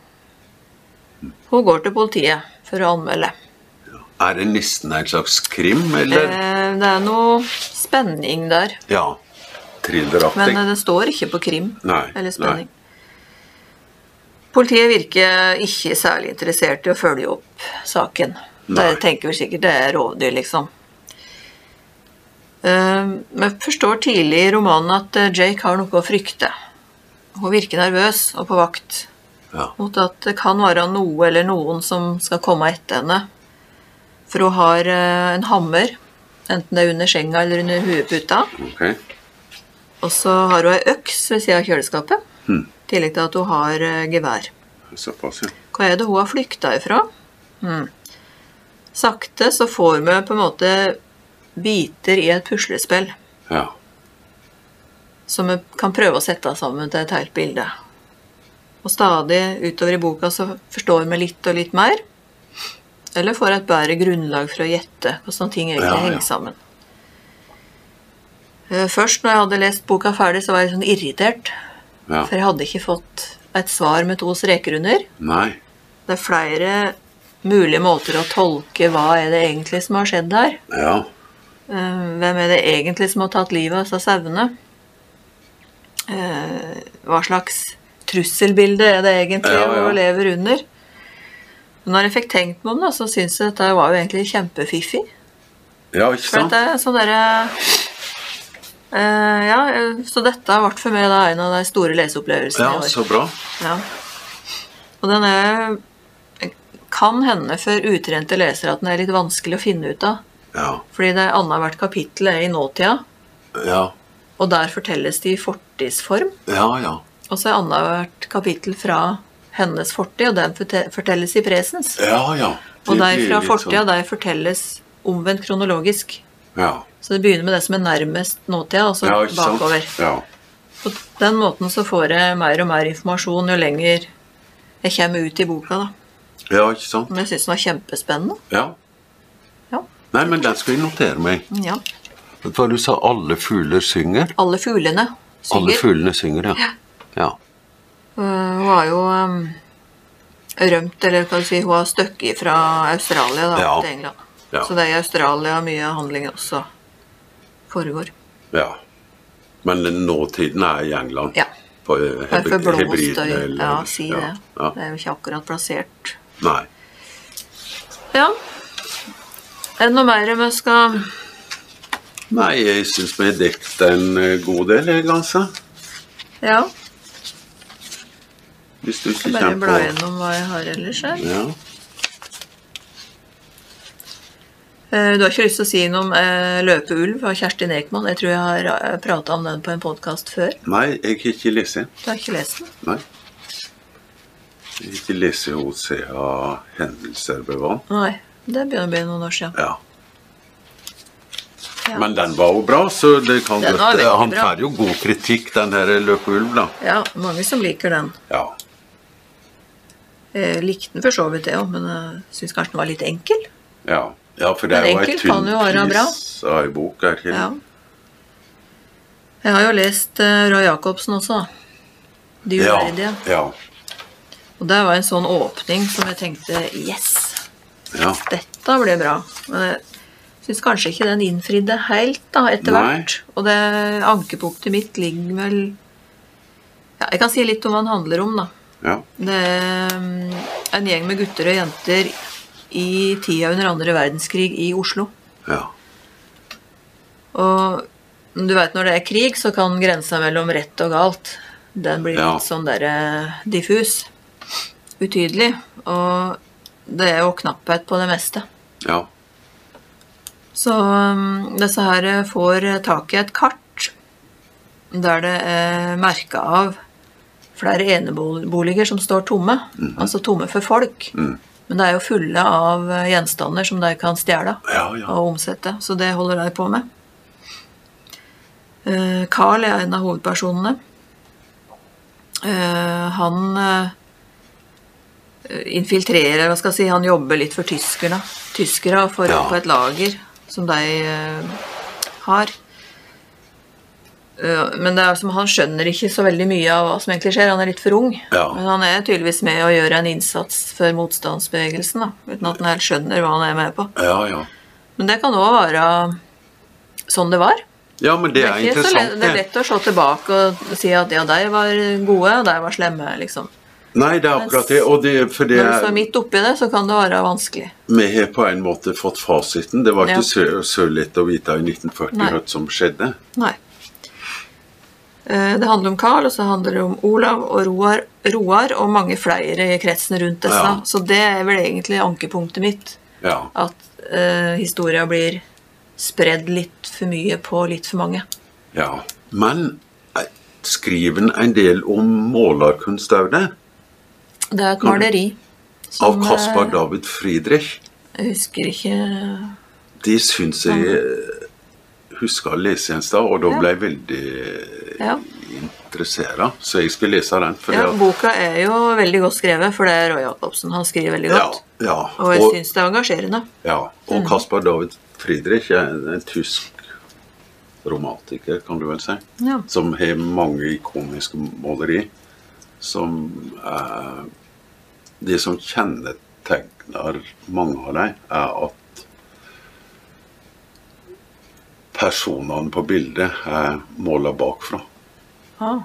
Speaker 2: Hun går til politiet for å anmelde.
Speaker 3: Er det nissen en slags krim, eller?
Speaker 2: Eh, Det er noe spenning der,
Speaker 3: Ja. Thrilleraktig.
Speaker 2: men eh, det står ikke på krim
Speaker 3: Nei,
Speaker 2: eller spenning. Politiet virker ikke særlig interessert i å følge opp saken. De
Speaker 3: Nei.
Speaker 2: tenker vel sikkert det er rovdyr, liksom. Eh, Men jeg forstår tidlig i romanen at eh, Jake har noe å frykte. Hun virker nervøs og på vakt
Speaker 3: Ja.
Speaker 2: mot at det kan være noe eller noen som skal komme etter henne. For hun har eh, en hammer, enten det er under senga eller under hueputa.
Speaker 3: Ok.
Speaker 2: Og så har hun ei øks ved sida av kjøleskapet.
Speaker 3: Hmm.
Speaker 2: I tillegg til at hun har eh, gevær.
Speaker 3: Såpass, ja.
Speaker 2: Hva er det hun har flykta ifra? Hmm. Sakte så får vi på en måte biter i et puslespill
Speaker 3: Ja.
Speaker 2: som vi kan prøve å sette sammen til et helt bilde. Og stadig utover i boka så forstår vi litt og litt mer. Eller får et bedre grunnlag for å gjette hvordan ting egentlig
Speaker 3: Ja, ja.
Speaker 2: henger sammen. Eh, Først når jeg hadde lest boka ferdig, så var jeg sånn irritert.
Speaker 3: ja.
Speaker 2: For jeg hadde ikke fått et svar med to streker under.
Speaker 3: Nei.
Speaker 2: Det er flere mulige måter å tolke hva er det egentlig som har skjedd her.
Speaker 3: Ja.
Speaker 2: Eh, Hvem er det egentlig som har tatt livet av disse sauene? Eh, Hva slags trusselbilde er det egentlig
Speaker 3: Ja, ja.
Speaker 2: hun lever under? Men når jeg fikk tenkt meg om det, så syns jeg dette var jo egentlig kjempefiffig.
Speaker 3: Ja, ikke
Speaker 2: For
Speaker 3: sant?
Speaker 2: dette er sånn derre eh, Ja, eh, så dette ble for meg da en av de store leseopplevelsene
Speaker 3: Ja, så bra.
Speaker 2: Ja. Og den er Kan hende for utrente lesere at den er litt vanskelig å finne ut av.
Speaker 3: Ja.
Speaker 2: Fordi det annethvert kapittel er i nåtida,
Speaker 3: Ja.
Speaker 2: og der fortelles det i fortidsform.
Speaker 3: Ja, ja.
Speaker 2: Og så er annethvert kapittel fra hennes fortid, og den forte- fortelles i presens.
Speaker 3: Ja, ja.
Speaker 2: Og
Speaker 3: Det
Speaker 2: de
Speaker 3: blir
Speaker 2: fra
Speaker 3: litt
Speaker 2: fortida,
Speaker 3: sånn-
Speaker 2: de fortelles omvendt kronologisk.
Speaker 3: Ja.
Speaker 2: Så det begynner med det som er nærmest nåtida, og så
Speaker 3: ja, ikke sant?
Speaker 2: bakover.
Speaker 3: Ja.
Speaker 2: På den måten så får jeg mer og mer informasjon jo lenger jeg kommer ut i boka, da.
Speaker 3: ja, ikke sant?
Speaker 2: Men jeg syns den var kjempespennende.
Speaker 3: Ja.
Speaker 2: Ja.
Speaker 3: Nei, men den skal jeg notere meg.
Speaker 2: ja.
Speaker 3: Vet du hva du sa? Alle fugler synger?
Speaker 2: Alle fuglene synger.
Speaker 3: Alle fuglene synger, ja. Ja.
Speaker 2: Eh, hun har jo um, rømt, eller hva du si, hun har støkket fra Australia da,
Speaker 3: Ja.
Speaker 2: til England.
Speaker 3: Ja.
Speaker 2: Så det er i Australia mye av handlingen også foregår.
Speaker 3: ja. Men nåtiden er i England.
Speaker 2: Ja.
Speaker 3: På eh, heb-
Speaker 2: Derfor blåstøy.
Speaker 3: hybridene. eller-
Speaker 2: Ja, si det.
Speaker 3: Ja.
Speaker 2: Det er jo ikke akkurat plassert.
Speaker 3: Nei.
Speaker 2: Ja. Er det noe mer vi skal
Speaker 3: Nei, jeg syns vi har dekt en eh, god del, jeg, altså.
Speaker 2: Ja.
Speaker 3: Hvis du ikke
Speaker 2: skal Bare
Speaker 3: kommer
Speaker 2: bla
Speaker 3: på
Speaker 2: gjennom hva jeg har ellers her.
Speaker 3: ja.
Speaker 2: Eh, Du har ikke lyst til å si noe om eh, 'Løpeulv' av Kjerstin Ekman? Jeg tror jeg har prata om den på en podkast før.
Speaker 3: Nei, jeg har ikke lest den.
Speaker 2: Du har ikke lest den?
Speaker 3: Nei. Jeg har ikke lest OCA Hendelser bevant.
Speaker 2: Nei. Det begynner å bli noen år siden.
Speaker 3: Ja.
Speaker 2: Ja.
Speaker 3: Men den var jo bra, så det kan
Speaker 2: Den
Speaker 3: godt-
Speaker 2: var veldig
Speaker 3: Han
Speaker 2: bra.
Speaker 3: får jo god kritikk, den her Løpeulv, da.
Speaker 2: Ja, mange som liker den.
Speaker 3: Ja.
Speaker 2: Jeg likte den for så vidt, jeg òg, men jeg syns kanskje den var litt enkel.
Speaker 3: Ja, ja for det
Speaker 2: Men
Speaker 3: er jo ei
Speaker 2: enkel kan
Speaker 3: tynn
Speaker 2: jo være bra.
Speaker 3: fis av ei bok. Er ikke?
Speaker 2: Ja. Jeg har jo lest eh, Roy Jacobsen også, da. De
Speaker 3: ja,
Speaker 2: uverdige.
Speaker 3: ja,
Speaker 2: Og det var en sånn åpning som jeg tenkte Yes,
Speaker 3: ja.
Speaker 2: dette blir bra. Men jeg syns kanskje ikke den innfridde helt, da, etter
Speaker 3: Nei.
Speaker 2: hvert. Og det ankepunktet mitt ligger vel Ja, jeg kan si litt om hva den handler om, da.
Speaker 3: ja.
Speaker 2: Det er mm, en gjeng med gutter og jenter i tida under andre verdenskrig i Oslo.
Speaker 3: ja.
Speaker 2: Og du vet når det er krig, så kan grensa mellom rett og galt den blir
Speaker 3: Ja.
Speaker 2: litt sånn der eh, diffus. Utydelig. Og det er jo knapphet på det meste.
Speaker 3: ja.
Speaker 2: Så mm, disse her eh, får eh, tak i et kart der det er merka av flere eneboliger som står tomme. Altså tomme for folk. Men det er jo fulle av eh, gjenstander som de kan stjele
Speaker 3: Ja, ja.
Speaker 2: og omsette, så det holder de på med. Eh, Carl er en av hovedpersonene. Eh, Han eh, infiltrerer, hva skal jeg si, han jobber litt for tyskerne. Tyskere for,
Speaker 3: Ja.
Speaker 2: på et lager som de eh, har. Eh, Men det er som han skjønner ikke så veldig mye av hva som egentlig skjer. Han er litt for ung.
Speaker 3: Ja.
Speaker 2: Men han er tydeligvis med og gjør en innsats for motstandsbevegelsen, da, uten at han helt skjønner hva han er med på.
Speaker 3: ja, ja.
Speaker 2: Men det kan òg være sånn det var.
Speaker 3: Ja, men det er
Speaker 2: ikke så lett,
Speaker 3: interessant,
Speaker 2: det er lett å se tilbake og si at ja, de var gode, og de var slemme, liksom.
Speaker 3: Nei, det er akkurat det. Og det for det
Speaker 2: Når du
Speaker 3: er-
Speaker 2: står midt oppi det, så kan det være vanskelig.
Speaker 3: vi har på en måte fått fasiten. Det var
Speaker 2: Ja.
Speaker 3: ikke så, så lett å vite i 1940
Speaker 2: Nei.
Speaker 3: hva som skjedde.
Speaker 2: Nei. Eh, Det handler om Carl, og så handler det om Olav og Roar, Roar og mange flere i kretsen rundt disse.
Speaker 3: Ja.
Speaker 2: Så det er vel egentlig ankepunktet mitt.
Speaker 3: Ja.
Speaker 2: At eh, historia blir spredd litt for mye på litt for mange.
Speaker 3: ja. Men eh, skriver han en del om målerkunst òg, det?
Speaker 2: Det er et
Speaker 3: Kan du-
Speaker 2: maleri.
Speaker 3: Mm. Av
Speaker 2: som, eh,
Speaker 3: Caspar David Friedrich.
Speaker 2: Jeg husker ikke
Speaker 3: De syns jeg eh, husker å lese en stad, og da
Speaker 2: Ja.
Speaker 3: ble jeg veldig
Speaker 2: Ja.
Speaker 3: interessert. Så jeg skal lese den. For
Speaker 2: Ja,
Speaker 3: at-
Speaker 2: boka er jo veldig godt skrevet, for det er Roy Jacobsen. Han skriver veldig
Speaker 3: ja,
Speaker 2: godt.
Speaker 3: ja.
Speaker 2: Og jeg
Speaker 3: Og,
Speaker 2: syns det er engasjerende.
Speaker 3: ja. og Caspar David Friedrich er en, en tysk romantiker, kan du vel si.
Speaker 2: Ja.
Speaker 3: som har mange ikoniske maleri. Som eh, Det som kjennetegner mange av dem, er at personene på bildet er måla bakfra. Eh.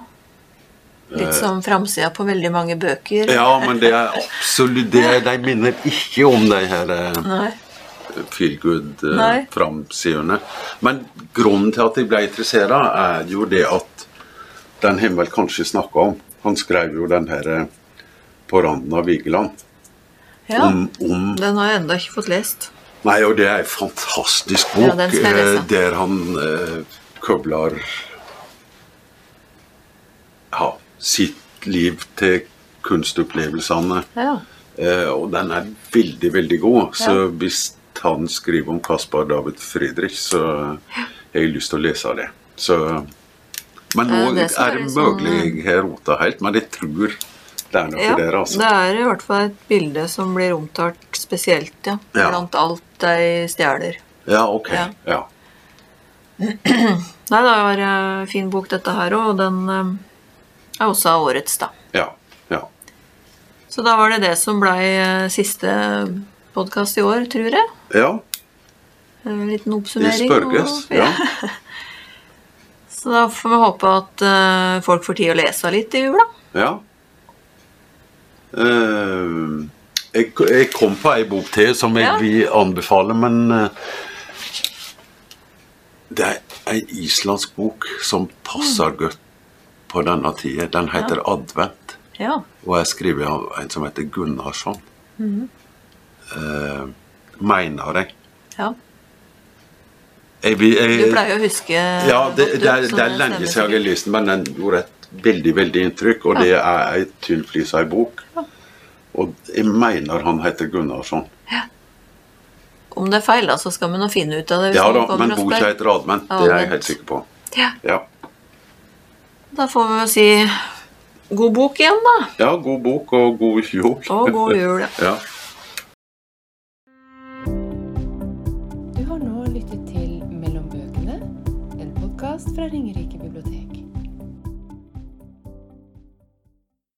Speaker 2: Litt som framsida på veldig mange bøker.
Speaker 3: Ja, men det er absolutt det. De minner ikke om de her eh,
Speaker 2: Nei.
Speaker 3: feel
Speaker 2: Nei.
Speaker 3: good-framsidene. Men grunnen til at jeg ble interessert, er jo det at den har vi vel kanskje snakka om. Han skrev jo den her eh, på randen av Vigeland.
Speaker 2: Ja.
Speaker 3: Om, om
Speaker 2: Den har jeg ennå ikke fått lest.
Speaker 3: Nei, og det er en fantastisk
Speaker 2: Ja,
Speaker 3: bok
Speaker 2: den skal jeg lese.
Speaker 3: eh, der han eh, kobler ja, sitt liv til kunstopplevelsene.
Speaker 2: Ja.
Speaker 3: Eh, og den er veldig, veldig god. Så
Speaker 2: Ja.
Speaker 3: hvis han skriver om Caspar David Friedrich, så har jeg lyst til å lese det. Så, men nå
Speaker 2: Eh, det skal
Speaker 3: er det
Speaker 2: være sånn-
Speaker 3: mulig jeg har rota helt, men jeg tror det er noe
Speaker 2: ja.
Speaker 3: der, altså.
Speaker 2: Det er i hvert fall et bilde som blir omtalt spesielt, ja.
Speaker 3: Ja.
Speaker 2: Blant alt de stjeler.
Speaker 3: Ja, ok.
Speaker 2: Ja.
Speaker 3: Ja.
Speaker 2: Nei, det var en fin bok, dette her òg. Og den eh, er også av årets, da.
Speaker 3: Ja. ja.
Speaker 2: Så da var det det som blei eh, siste podkast i år, tror jeg.
Speaker 3: ja.
Speaker 2: En liten
Speaker 3: I
Speaker 2: oppsummering.
Speaker 3: spørges.
Speaker 2: og-
Speaker 3: Ja.
Speaker 2: Så da får vi håpe at eh, folk får tid å lese litt i jula.
Speaker 3: ja. Eh, jeg, jeg kom på ei bok til som jeg
Speaker 2: Ja.
Speaker 3: vil anbefale, men eh, Det er ei islandsk bok som
Speaker 2: Mm.
Speaker 3: passer godt på denne tida. Den heter 'Advent'
Speaker 2: Ja.
Speaker 3: og er skrevet av en som heter Gunnarsson.
Speaker 2: Mm.
Speaker 3: Eh, mener jeg.
Speaker 2: ja.
Speaker 3: jeg, vil-
Speaker 2: Du
Speaker 3: jeg
Speaker 2: pleier å huske
Speaker 3: Ja, det,
Speaker 2: godt, du,
Speaker 3: det, er,
Speaker 2: så
Speaker 3: det er lenge
Speaker 2: stemmer
Speaker 3: siden jeg har lest den, men den gjorde et veldig veldig inntrykk. Og det er ei tynnflisa bok. Og jeg mener han heter Gunnarsson.
Speaker 2: sikkert. Om det er feil, da, så skal vi nå finne ut av det. hvis
Speaker 3: Ja da,
Speaker 2: noen kommer
Speaker 3: men
Speaker 2: og
Speaker 3: boka
Speaker 2: spør.
Speaker 3: heter Advent. Det er jeg
Speaker 2: Advent.
Speaker 3: helt sikker på.
Speaker 2: Ja,
Speaker 3: Ja,
Speaker 2: Da får vi jo si god bok igjen, da.
Speaker 3: ja god bok og god jul.
Speaker 2: Og god jul. ja.
Speaker 3: Ja.
Speaker 1: Du har nå lyttet til Mellom bøkene, en podkast fra Ringerike bibliotek.